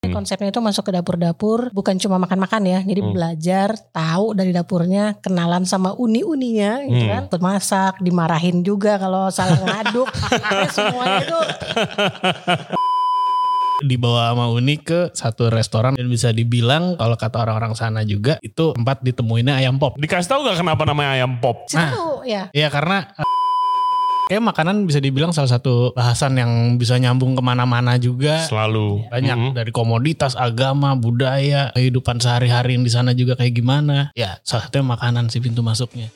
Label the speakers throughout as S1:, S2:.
S1: Hmm.
S2: konsepnya itu masuk ke dapur-dapur bukan cuma makan-makan ya. Jadi
S3: Hmm.
S2: belajar, tahu dari dapurnya, kenalan sama uni-uninya gitu
S3: Hmm.
S2: kan. Ikut masak, dimarahin juga kalau salah ngaduk. Pokoknya semuanya itu
S1: Nah. dibawa sama Uni ke satu restoran dan bisa dibilang kalau kata orang-orang sana juga itu tempat ditemuinnya ayam pop.
S3: Dikasih tahu nggak kenapa namanya ayam pop?
S2: situ ya.
S1: Ya karena eh, kayak makanan bisa dibilang salah satu bahasan yang bisa nyambung kemana-mana juga.
S3: Selalu Hmm.
S1: Banyak
S3: Mm-mm.
S1: dari komoditas, agama, budaya, kehidupan sehari-hari yang di sana juga kayak gimana. Ya salah satunya makanan sih pintu masuknya.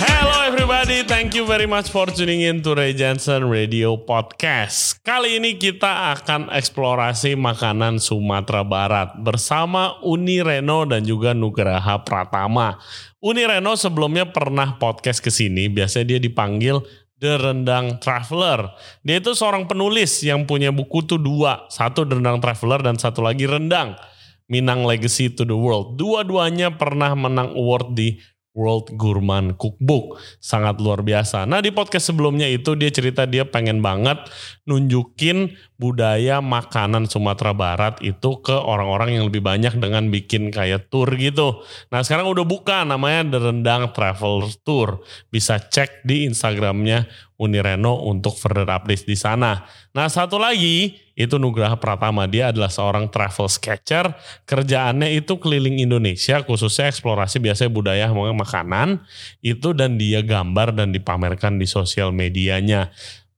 S3: Hello everybody, thank you very much for tuning in to Ray Johnson Radio Podcast. Kali ini kita akan eksplorasi makanan Sumatera Barat bersama Uni Reno dan juga Nugraha Pratama. Uni Reno sebelumnya pernah podcast ke sini, biasanya dia dipanggil The Rendang Traveler. Dia itu seorang penulis yang punya buku tuh dua, satu The Rendang Traveler dan satu lagi Rendang. Minang Legacy to the World. Dua-duanya pernah menang award di World Gourmand Cookbook. Sangat luar biasa. Nah di podcast sebelumnya itu dia cerita dia pengen banget nunjukin budaya makanan Sumatera Barat itu ke orang-orang yang lebih banyak dengan bikin kayak tour gitu. Nah sekarang udah buka namanya The Rendang Travel Tour. Bisa cek di Instagramnya Unireno untuk further update di sana. Nah satu lagi itu Nugraha Pratama. Dia adalah seorang travel sketcher kerjaannya itu keliling Indonesia khususnya eksplorasi biasanya budaya sama makanan itu dan dia gambar dan dipamerkan di sosial medianya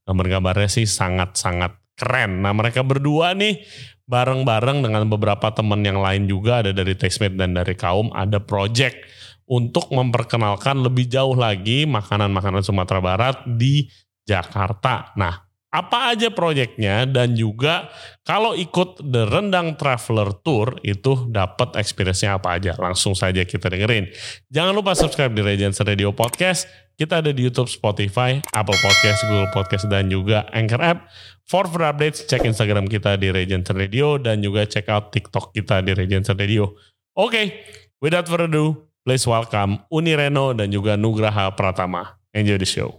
S3: gambar-gambarnya sih sangat-sangat keren nah mereka berdua nih bareng-bareng dengan beberapa teman yang lain juga ada dari Tastemade dan dari Kaum ada project untuk memperkenalkan lebih jauh lagi makanan-makanan Sumatera Barat di Jakarta. Nah, apa aja proyeknya dan juga kalau ikut The Rendang Traveler Tour itu dapat experience-nya apa aja. Langsung saja kita dengerin. Jangan lupa subscribe di Regency Radio Podcast. Kita ada di YouTube, Spotify, Apple Podcast, Google Podcast, dan juga Anchor App. For further updates, cek Instagram kita di Regency Radio dan juga check out TikTok kita di Regency Radio. Oke, without further ado, please welcome Uni Reno dan juga Nugraha Pratama. Enjoy the show.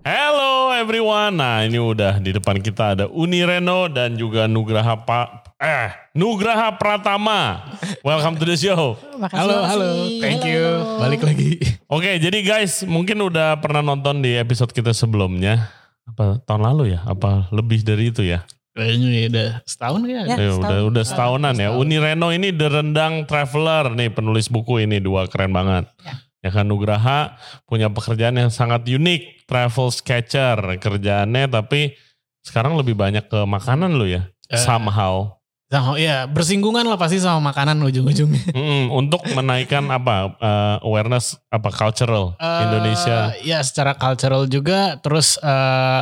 S3: Hello everyone. Nah, ini udah di depan kita ada Uni Reno dan juga Nugraha Pak eh Nugraha Pratama. Welcome to the show.
S2: Makasih,
S1: Halo,
S2: makasih.
S1: halo. Thank
S2: Halo,
S1: you.
S2: halo.
S1: Balik lagi.
S3: Oke, jadi guys, mungkin udah pernah nonton di episode kita sebelumnya. Apa tahun lalu ya? Apa lebih dari itu ya?
S1: Kayaknya ya udah setahun ya.
S2: Ya.
S3: Eh,
S2: setahun.
S3: udah udah setahunan ya.
S1: Setahun.
S3: Uni Reno ini The Rendang Traveler nih penulis buku ini dua keren banget.
S2: Ya.
S3: Ya kan Nugraha punya pekerjaan yang sangat unik, travel sketcher kerjaannya tapi sekarang lebih banyak ke makanan lo ya.
S1: Eh.
S3: Somehow.
S1: Sama- ya bersinggungan lah pasti sama makanan ujung-ujungnya.
S3: Mm-mm, untuk menaikkan apa eh, awareness apa cultural
S1: Eh,
S3: Indonesia.
S1: Ya secara cultural juga terus eh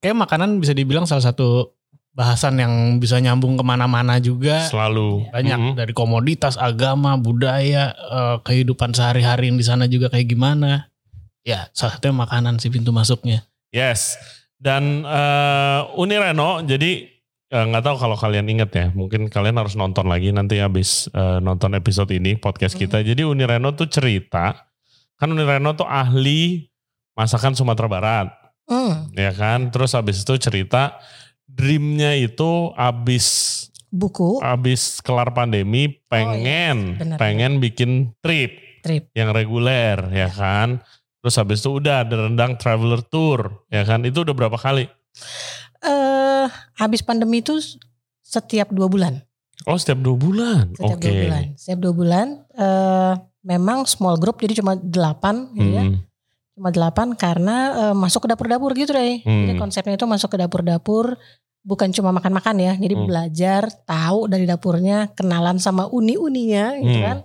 S1: kayak makanan bisa dibilang salah satu bahasan yang bisa nyambung kemana-mana juga.
S3: Selalu
S1: eh, Banyak
S3: Mm-mm.
S1: dari komoditas, agama, budaya, eh, kehidupan sehari-hari yang di sana juga kayak gimana. Ya salah satunya makanan sih pintu masuknya.
S3: Yes. Dan eh, Uni Reno, jadi eh, nggak tahu kalau kalian ingat ya, mungkin kalian harus nonton lagi nanti habis eh, nonton episode ini podcast kita. Jadi Uni Reno tuh cerita, kan Uni Reno tuh ahli masakan Sumatera Barat,
S2: Hmm,
S3: ya kan? Terus habis itu cerita dreamnya itu habis
S2: buku
S3: habis kelar pandemi
S2: Oh,
S3: pengen
S2: iya. benar.
S3: pengen bikin trip
S2: Trip.
S3: yang reguler
S2: Iya.
S3: ya kan terus habis itu udah ada rendang traveler tour ya kan itu udah berapa kali
S2: eh habis pandemi itu setiap dua bulan.
S3: oh setiap dua bulan
S2: Setiap
S3: oke
S2: dua bulan. Setiap dua bulan eh, memang small group jadi cuma delapan gitu ya.
S3: Hmm.
S2: Cuma delapan karena eh, masuk ke dapur-dapur gitu deh. Jadi
S3: Hmm.
S2: konsepnya itu masuk ke dapur-dapur bukan cuma makan-makan ya. Jadi
S3: Hmm.
S2: belajar, tahu dari dapurnya, kenalan sama uni-uninya gitu
S3: Hmm.
S2: kan.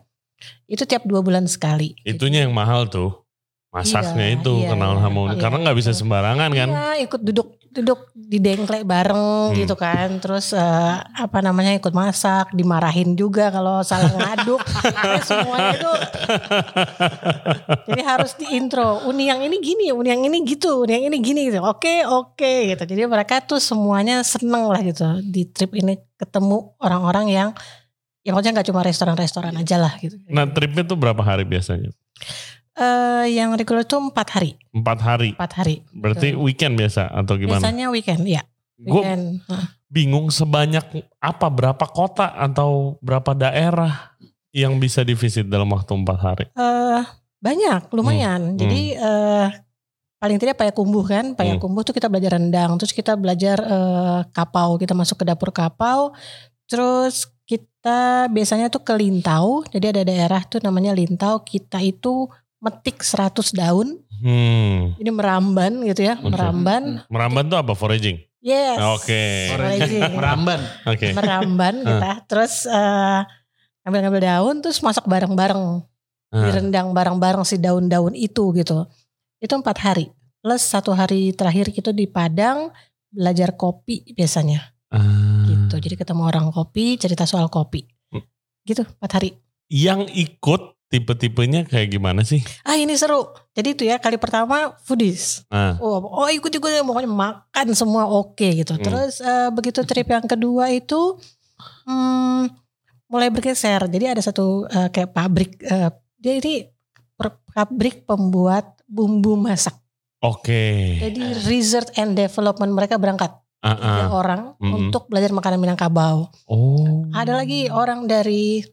S2: Itu tiap dua bulan sekali.
S3: itunya yang mahal tuh masaknya
S2: Iya,
S3: itu
S2: iya,
S3: kenal
S2: iya.
S3: sama
S2: Iya,
S3: karena nggak bisa
S2: betul.
S3: sembarangan kan
S2: Iya, ikut duduk duduk di dengklek bareng
S3: Hmm.
S2: gitu kan. Terus eh, apa namanya ikut masak, dimarahin juga kalau salah ngaduk. Pokoknya semuanya itu jadi harus di intro. Uni yang ini gini, uni yang ini gitu, uni yang ini gini gitu. Oke, oke gitu. Jadi mereka tuh semuanya seneng lah gitu di trip ini ketemu orang-orang yang yang maksudnya nggak cuma restoran-restoran aja lah gitu.
S3: nah tripnya tuh berapa hari biasanya
S2: eh, yang reguler itu empat hari,
S3: Empat hari.
S2: empat hari.
S3: Berarti weekend biasa atau gimana?
S2: Biasanya weekend, ya.
S3: Gue
S2: Weekend. Nah,
S3: bingung sebanyak apa berapa kota atau berapa daerah yang bisa divisit dalam waktu empat hari.
S2: eh, banyak, lumayan.
S3: Hmm.
S2: Jadi eh, paling tidak payakumbuh kan, payakumbuh tuh kita belajar rendang, terus kita belajar eh, kapau, kita masuk ke dapur kapau, terus kita biasanya tuh ke Lintau. Jadi ada daerah tuh namanya Lintau, kita itu metik 100 daun,
S3: Hmm.
S2: ini meramban gitu ya,
S3: Oke. Hmm.
S2: meramban.
S3: Meramban tuh apa foraging?
S2: Yes.
S3: Oke.
S2: Iya. Foraging.
S1: Meramban.
S3: Oke.
S2: meramban kita terus eh, ngambil-ngambil daun terus masak bareng-bareng
S3: Nah,
S2: direndang bareng-bareng si daun-daun itu gitu itu empat hari plus satu hari terakhir itu di Padang belajar kopi biasanya
S3: ah.
S2: gitu jadi ketemu orang kopi cerita soal kopi
S3: Hmm.
S2: gitu empat hari
S3: Yang ikut tipe-tipenya kayak gimana sih?
S2: ah ini seru jadi itu ya kali pertama foodies
S3: Ah.
S2: oh, oh ikut ikut pokoknya makan semua oke gitu
S3: Hmm.
S2: terus eh, begitu trip yang kedua itu hmm, mulai bergeser jadi ada satu eh, kayak pabrik eh, dia ini per- pabrik pembuat bumbu masak
S3: Oke.
S2: jadi research and development mereka berangkat
S3: Iya. Ah,
S2: tiga
S3: ah.
S2: orang
S3: Mm-mm.
S2: untuk belajar makanan Minangkabau
S3: Oh.
S2: ada lagi orang dari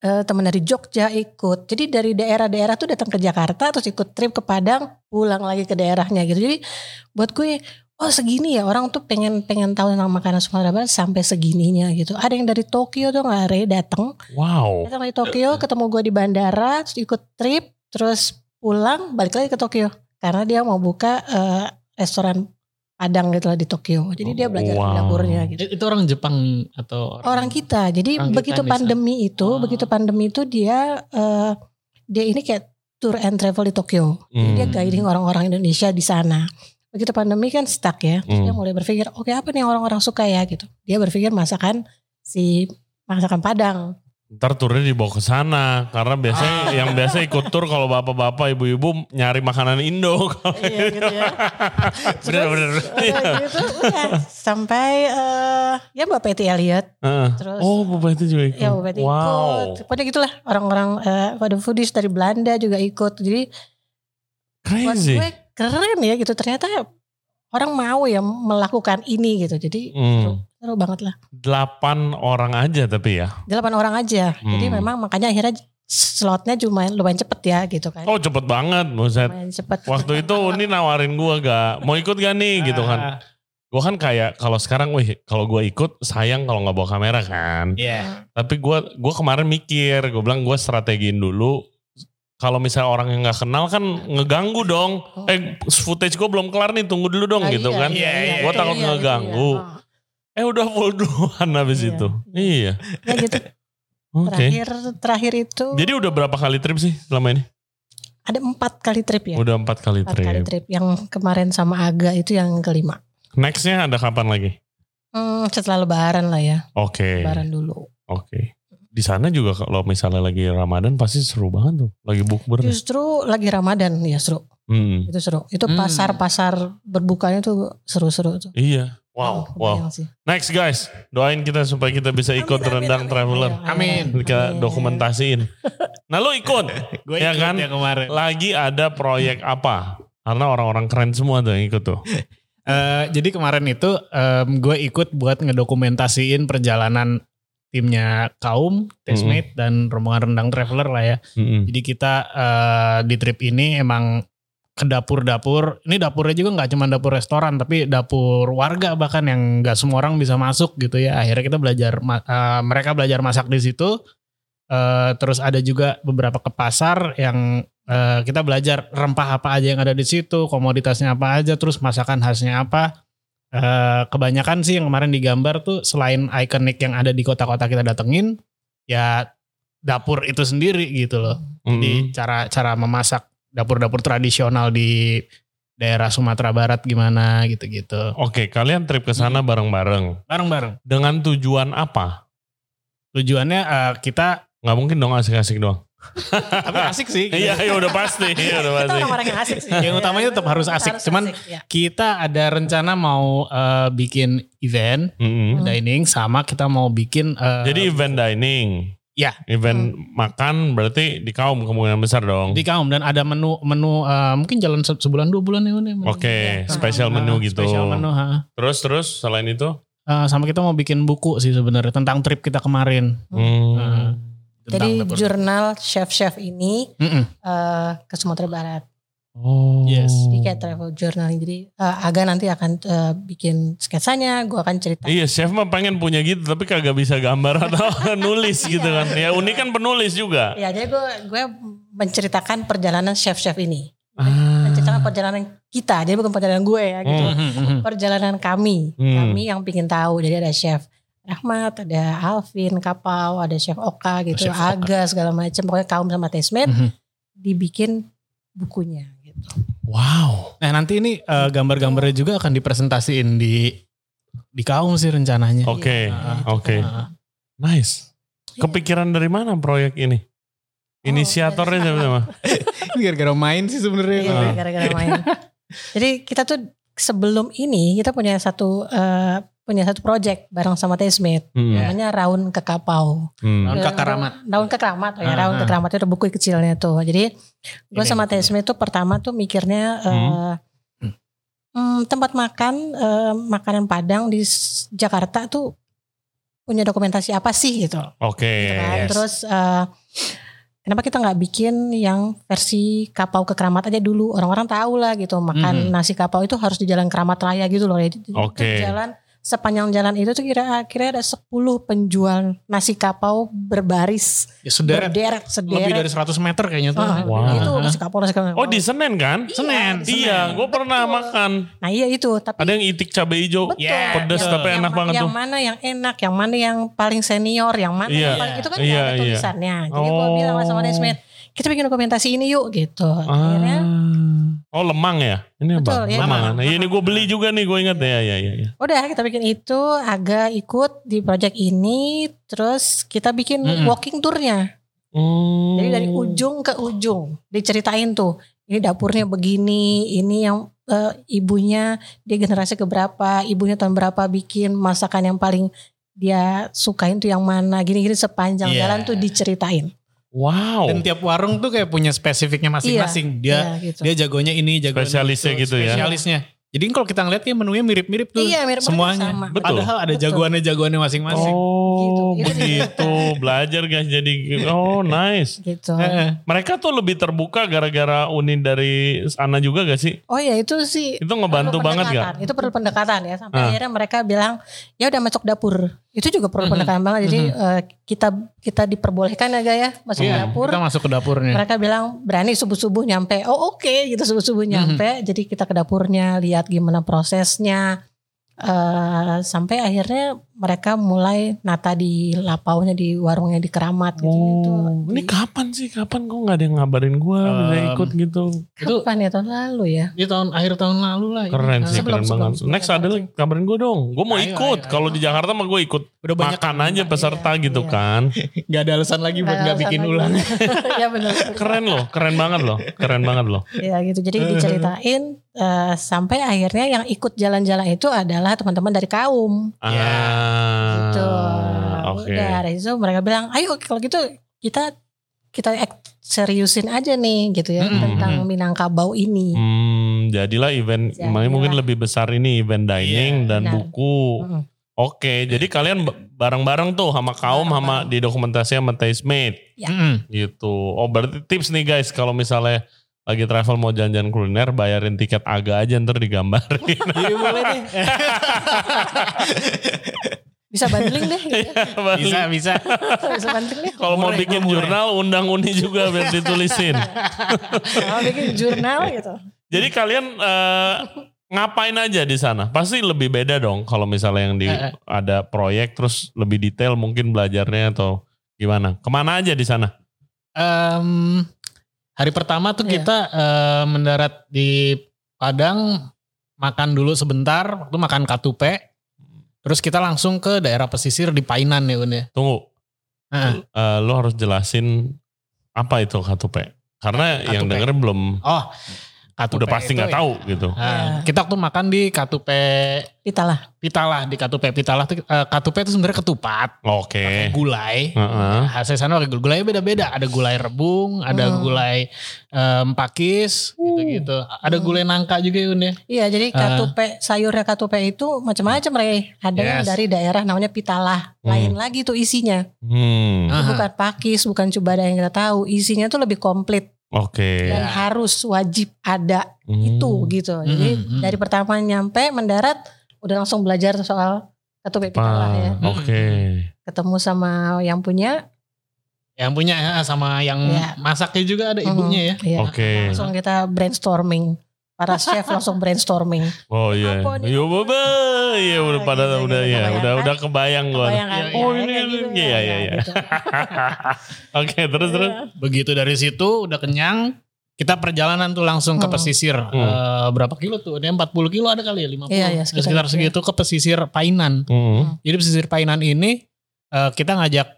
S2: eh, teman dari Jogja ikut jadi dari daerah-daerah tuh datang ke Jakarta terus ikut trip ke Padang pulang lagi ke daerahnya gitu jadi buat gue oh segini ya orang tuh pengen pengen tahu tentang makanan Sumatera Barat sampai segininya gitu ada yang dari Tokyo tuh nggak Re, datang
S3: Wow.
S2: datang dari Tokyo ketemu gue di bandara terus ikut trip terus pulang balik lagi ke Tokyo karena dia mau buka eh, restoran Padang gitu lah di Tokyo jadi dia belajar di
S3: Wow.
S2: dapurnya gitu
S1: Itu orang Jepang atau
S2: orang kita. Jadi
S1: Orang kita
S2: begitu
S1: yang bisa.
S2: pandemi itu,
S1: Ah.
S2: begitu pandemi itu dia eh, dia ini kayak tour and travel di Tokyo. Jadi Dia
S3: Hmm.
S2: guiding orang-orang Indonesia di sana. Begitu pandemi kan stuck ya. Terus
S3: Hmm.
S2: dia mulai berpikir, oke apa nih yang orang-orang suka ya gitu. Dia berpikir masakan si masakan Padang.
S3: Ntar turnya dibawa ke sana karena biasanya
S1: Ah.
S3: yang biasa ikut tur kalau bapak-bapak, ibu-ibu nyari makanan Indo.
S2: Iya gitu ya.
S3: Bener-bener.
S2: Udah gitu, udah. Sampai eh, ya Mbak Patty Elliot.
S3: Heeh.
S2: Terus
S3: Oh, Bapak itu juga ikut.
S2: Ya obat
S3: wow.
S2: ikut. Pokoknya gitulah orang-orang eh, pada foodies dari Belanda juga ikut. Jadi buat
S3: Crazy.
S2: gue keren ya gitu ternyata orang mau ya melakukan ini gitu jadi
S3: Hmm.
S2: seru banget lah
S3: Delapan orang aja tapi ya.
S2: delapan orang aja jadi
S3: Hmm.
S2: memang makanya akhirnya slotnya cuma lumayan cepet ya gitu kan
S3: Oh cepet banget buset.
S2: lumayan cepet
S3: Waktu itu Uni nawarin gua gak mau ikut gak nih gitu kan. Gua kan kayak kalau sekarang wih kalau gua ikut sayang kalau nggak bawa kamera kan.
S1: Iya.
S3: Tapi gua gua kemarin mikir, gua bilang gua strategiin dulu kalau misalnya orang yang nggak kenal kan ngeganggu dong. Eh footage gua belum kelar nih, tunggu dulu dong
S2: Oh. Ah,
S3: gitu
S2: iya,
S3: kan.
S2: iya, iya,
S3: Gua
S2: iya,
S3: takut
S2: iya,
S3: ngeganggu.
S2: iya.
S3: Eh udah full duluan habis
S2: Iya.
S3: itu. Iya.
S2: Ah, ya gitu
S3: Oke.
S2: terakhir terakhir itu
S3: Jadi udah berapa kali trip sih selama ini?
S2: ada empat kali trip ya
S3: Udah empat kali
S2: empat kali
S3: Oh, trip.
S2: trip yang kemarin sama Aga itu yang kelima
S3: Nextnya ada kapan lagi?
S2: Hmm, setelah lebaran lah ya
S3: Oke.
S2: lebaran dulu
S3: Oke. Di sana juga kalau misalnya lagi Ramadan pasti seru banget tuh. Lagi bukber. ya?
S2: justru lagi Ramadan ya seru
S3: Hmm.
S2: itu seru itu
S1: Hmm.
S2: pasar pasar berbukanya tuh seru-seru tuh
S3: Iya.
S2: Oh,
S3: Wow, wow.
S2: kebayang sih.
S3: Next guys, doain kita supaya kita bisa ikut
S2: Amin, amin,
S3: rendang
S2: amin.
S3: traveler.
S2: Ayo, ayo,
S1: Amin.
S2: ayo.
S3: Kita
S2: Amin.
S3: dokumentasiin. Nah lu ikut.
S1: Gue
S3: Ya kan?
S1: ya kemarin.
S3: Lagi ada proyek apa? Karena orang-orang keren semua tuh yang ikut tuh.
S1: Eh, jadi kemarin itu gue ikut buat ngedokumentasiin perjalanan timnya Kaum, Testmate dan rombongan rendang traveler lah ya.
S3: Mm-mm.
S1: Jadi kita eh, di trip ini emang ke dapur-dapur. Ini dapurnya juga nggak cuma dapur restoran, tapi dapur warga bahkan yang nggak semua orang bisa masuk gitu ya. Akhirnya kita belajar, ma- eh, mereka belajar masak di situ. Eh, terus ada juga beberapa ke pasar yang eh, kita belajar rempah apa aja yang ada di situ, komoditasnya apa aja, terus masakan khasnya apa. Eh, kebanyakan sih yang kemarin digambar tuh selain ikonik yang ada di kota-kota kita datengin, ya dapur itu sendiri gitu loh di
S3: Mm-mm.
S1: cara cara memasak dapur-dapur tradisional di daerah Sumatera Barat gimana gitu-gitu.
S3: Oke, kalian trip ke sana bareng-bareng.
S1: Bareng-bareng.
S3: Dengan tujuan apa?
S1: Tujuannya eh, kita
S3: Nggak mungkin dong asik-asik doang.
S1: tapi asik sih. gitu.
S3: Iya, iya udah pasti. Iya, udah
S2: Kita
S3: pasti.
S2: orang-orang yang asik sih. Ya,
S1: Yang utamanya tetap harus asik. Cuman
S2: asik, ya.
S1: Kita ada rencana mau eh, bikin event
S2: Hmm.
S3: Mm-mm.
S1: dining sama kita mau bikin eh,
S3: Jadi event dining.
S1: Ya.
S3: Event makan berarti di kaum kemungkinan besar dong.
S1: Di Kaum dan ada menu menu eh, mungkin jalan se- sebulan dua bulan ya. Uni, menu.
S3: Oke,
S1: Ya,
S3: special
S1: eh,
S3: menu gitu.
S1: Special menu, ha.
S3: Terus terus selain itu?
S1: Eh, sama kita mau bikin buku sih sebenarnya tentang trip kita kemarin.
S3: Hmm.
S1: Eh, tentang
S2: Jadi
S1: dapur.
S2: jurnal chef-chef ini
S1: Mm-mm.
S2: eh, ke Sumatera Barat.
S3: Oh.
S1: Yes.
S2: Jadi kayak travel journal. Jadi eh, Aga nanti akan eh, bikin sketsanya, gue akan cerita.
S3: Iya, chef mah pengen punya gitu tapi kagak bisa gambar atau nulis
S2: Iya.
S3: gitu kan. Ya unik kan penulis juga.
S2: Ya jadi gue gue menceritakan perjalanan chef-chef ini.
S3: Ah.
S2: Menceritakan perjalanan kita. Jadi bukan perjalanan gue ya gitu.
S3: Hmm.
S1: Mm-mm, mm-mm.
S2: Perjalanan kami.
S3: Hmm.
S2: Kami yang pingin tahu. Jadi ada chef Rahmat, ada Alvin, Kapau, ada chef Oka gitu.
S1: Chef Oka.
S2: Aga segala macam. Pokoknya kaum sama Tasman
S1: Mhm.
S2: dibikin bukunya gitu.
S3: Wow.
S1: Nah nanti ini eh, gambar-gambarnya juga akan dipresentasiin di di kaum sih rencananya.
S3: Oke,
S2: Iya.
S3: oke.
S1: Nah,
S3: Nice. Kepikiran dari mana proyek ini? Inisiatornya
S2: Oh, dari-
S3: siapa?
S1: Gara-gara main sih sebenarnya.
S2: Iya,
S3: Ah.
S2: gara-gara main. Jadi kita tuh sebelum ini kita punya satu eh, punya satu project bareng sama Tasmate
S3: Hmm.
S2: namanya Raun ke Kapau.
S3: Hmm.
S1: Daun
S2: Udah-
S1: kekaramat.
S2: Iya. Daun ke Keramat, oh ya,
S1: Ah,
S2: Raun
S1: ah.
S2: ke Keramat itu ada buku kecilnya tuh. Jadi gue
S1: Ini
S2: sama
S1: bukunya.
S2: Tasmate tuh pertama tuh mikirnya eh,
S1: Hmm.
S2: hmm, tempat makan eh, makanan Padang di S- Jakarta tuh punya dokumentasi apa sih gitu.
S3: Oke.
S2: kan.
S1: Yes.
S2: Terus eh, kenapa kita nggak bikin yang versi kapau ke keramat aja dulu? Orang-orang tahu lah gitu makan
S1: Mhm.
S2: nasi kapau itu harus di jalan keramat raya gitu loh. Jadi itu
S3: Oke.
S2: jalan sepanjang jalan itu tuh kira kira ada 10 penjual nasi kapau berbaris,
S1: Ya, sederet.
S2: berderet,
S1: lebih
S2: sederet.
S1: dari 100 meter kayaknya tuh.
S2: Ah,
S3: Wow.
S2: Itu nasi kapau nasi kapau.
S3: Oh di Senen kan?
S2: Senen.
S3: Iya, gue pernah
S2: Betul.
S3: makan.
S2: Nah iya itu tapi
S3: Ada yang itik cabai hijau,
S2: Betul.
S3: Ya, pedas
S1: Yang-
S3: tapi
S2: yang
S3: enak
S2: ma-
S3: banget
S2: yang
S3: tuh.
S2: mana yang enak, yang mana yang paling senior, yang mana
S3: Iya.
S2: yang paling itu kan
S3: Iya,
S2: nggak ada
S3: iya.
S2: tulisannya. Jadi gua
S3: Oh.
S2: bilang lah sama Desmet, kita bikin dokumentasi ini yuk gitu. Akhirnya,
S3: Ah. Oh lemang ya? Ini
S2: Betul,
S3: apa?
S2: ya.
S3: Lemang.
S1: Lemang.
S3: Nah, ini gue beli juga nih, gue ingat ya, ya, ya. ya.
S2: udah kita bikin itu, agak ikut di project ini, terus kita bikin
S1: Mm-mm.
S2: walking tournya.
S3: Hmm.
S2: Jadi dari
S1: Oh.
S2: ujung ke ujung diceritain tuh, ini dapurnya begini, ini yang eh, ibunya dia generasi keberapa, ibunya tahun berapa bikin masakan yang paling dia sukain tuh yang mana, gini-gini sepanjang
S1: Iya.
S2: jalan tuh diceritain.
S3: Wow.
S1: Dan tiap warung tuh kayak punya spesifiknya masing-masing. Dia
S2: Iya, gitu.
S1: dia jagonya ini, jagonya
S3: Spesialisnya
S1: itu,
S3: gitu ya.
S1: Spesialisnya. Jadi kalau kita ngeliat ya menunya mirip-mirip tuh
S2: Iya, mirip-mirip
S1: semuanya.
S2: sama.
S3: Betul.
S1: Padahal ada
S2: Betul.
S1: jagoannya-jagoannya masing-masing.
S3: Oh,
S2: Gitu.
S3: begitu. Belajar guys jadi oh nice.
S2: gitu.
S1: Heeh.
S3: Mereka tuh lebih terbuka gara-gara Unin dari Ana juga gak sih?
S2: Oh ya itu sih
S3: Itu ngebantu
S2: perlu
S3: banget gak?
S2: pendekatan. Itu perlu pendekatan ya sampai
S3: Ah.
S2: akhirnya mereka bilang ya udah masuk dapur. Itu juga perlu
S1: Mhm.
S2: pendekatan banget. Jadi eh, kita kita diperbolehkan ya Gaya masuk
S1: Iya,
S2: dapur.
S1: Kita masuk ke dapurnya.
S2: Mereka bilang berani subuh-subuh nyampe. Oh oke gitu subuh-subuh
S1: Hmm.
S2: nyampe. Jadi kita ke dapurnya lihat gimana prosesnya. eh sampai akhirnya mereka mulai nata di lapaunya di warungnya di keramat gitu. gitu.
S3: Oh, ini kapan sih? Kapan kok nggak ada yang ngabarin gue bisa
S1: Um,
S3: ikut gitu?
S1: Itu
S2: Kapan ya tahun lalu ya?
S1: di tahun akhir tahun lalu lah. ini.
S3: Keren sih,
S2: sebelum-
S3: keren
S2: sebelum-
S3: banget.
S2: sebelum-
S3: Next ada lagi, kabarin gue dong. Gue mau
S1: Ayo,
S3: ikut.
S1: ayo, ayo.
S3: Kalau di Jakarta mah gue ikut
S1: Udah banyak
S3: makan aja peserta
S2: Iya,
S3: gitu
S2: iya.
S3: kan.
S1: Gak ada alasan lagi buat
S2: Nggak
S1: gak bikin
S2: lagi.
S1: ulang.
S2: ya benar.
S3: Keren loh, keren banget loh, keren banget loh.
S2: Ya gitu. Jadi
S1: Hmm.
S2: diceritain eh, sampai akhirnya yang ikut jalan-jalan itu adalah teman-teman dari kaum.
S3: Ah,
S1: Iya.
S2: gitu.
S1: Ah,
S3: Oke.
S2: Udah dari situ mereka bilang, "Ayo kalau gitu kita kita ek- seriusin aja nih gitu ya
S1: Mm-mm. Mm.
S2: tentang Minangkabau ini."
S3: Hmm, jadilah event
S2: Jadilah.
S3: mungkin lebih besar ini event dining
S1: Iya,
S3: dan
S2: benar.
S3: buku.
S2: Mm-mm.
S3: Oke, jadi kalian ba- bareng-bareng tuh sama kaum sama
S2: Bareng-bareng.
S3: di dokumentasi sama Tastemade.
S1: Mm-mm.
S3: gitu. Oh berarti tips nih guys kalau misalnya lagi travel mau jalan-jalan kuliner bayarin tiket agak aja ntar digambarin.
S1: Jadi boleh deh.
S2: Bisa bundling deh. gitu.
S1: bisa bisa.
S2: Bisa bundling deh.
S3: Kalau mau
S1: Murah,
S3: bikin
S1: murah.
S3: jurnal undang Uni juga biar ditulisin.
S2: Kalau bikin jurnal gitu.
S3: Jadi kalian eh, ngapain aja di sana? Pasti lebih beda dong kalau misalnya yang di
S1: Eh, eh.
S3: ada proyek terus lebih detail mungkin belajarnya atau gimana? Kemana aja di sana?
S1: Em, hari pertama tuh
S2: Iya.
S1: kita eh, mendarat di Padang makan dulu sebentar waktu makan katupe terus kita langsung ke daerah pesisir di Painan ya Bun ya.
S3: Tunggu,
S1: Heeh.
S3: eh, lo harus jelasin apa itu K2P. Karena yang
S1: K2P.
S3: denger belum.
S1: Oh
S3: udah
S1: Katupe
S3: pasti
S1: itu
S3: nggak
S1: ya.
S3: tahu gitu.
S2: Iya.
S1: Nah, kita waktu makan di Katupe
S2: Pitalah.
S1: Pitalah di Katupe Pitalah tuh eh, Katupe itu sebenarnya ketupat,
S3: Oke.
S1: pakai gulai.
S3: Heeh.
S1: Hasil sana pakai gulai. gulai beda-beda. Ada gulai rebung,
S2: Hmm.
S1: ada
S2: Uh.
S1: gulai eh, pakis, gitu-gitu. Ada gulai nangka juga Yun ya.
S2: Iya, jadi
S1: Ah.
S2: katupe sayurnya katupe itu macam-macam, Rey. Ada yang
S1: Yes. Mm.
S2: dari daerah namanya pitalah. Lain lagi tuh isinya.
S3: Hmm.
S2: Itu
S1: Aha.
S2: bukan pakis, bukan cubada yang kita tahu. Isinya tuh lebih komplit
S3: Oke.
S2: dan
S1: Ya.
S2: harus wajib ada
S3: Hmm.
S2: itu gitu. Jadi
S1: Hmm, hmm.
S2: dari pertama nyampe mendarat udah langsung belajar soal katupe pitalah
S3: Ah,
S2: ya. hmm.
S3: Oke.
S2: Ketemu sama yang punya
S1: Yang punya ya, sama yang
S2: Ya.
S1: masaknya juga ada
S2: Mhm.
S1: ibunya ya.
S2: Iya.
S3: Oke.
S2: Langsung kita brainstorming. Para chef langsung brainstorming.
S3: Oh iya.
S2: Apa nih?
S3: Yo baba. Iya udah
S2: Ah,
S3: pada
S2: gitu,
S3: udah
S2: gitu,
S3: ya,
S2: kebayang
S3: udah
S2: kan?
S3: udah kebayang gua.
S2: Bayangkan ya,
S1: Oh,
S3: ini,
S2: kayak gitu
S3: ini. Iya,
S2: ya,
S3: iya,
S2: ya,
S3: iya.
S2: gitu.
S3: Oke,
S1: Iya.
S3: terus terus.
S2: Iya.
S1: Begitu dari situ udah kenyang, kita perjalanan tuh langsung ke
S2: Hmm.
S1: pesisir.
S3: Mm.
S1: Eh, berapa kilo tuh? Ada 40 kilo ada kali ya, 50.
S2: Iya, iya,
S1: sekitar,
S2: sekitar-
S1: segitu ke pesisir Painan.
S3: Hmm.
S1: Jadi pesisir Painan ini eh, kita ngajak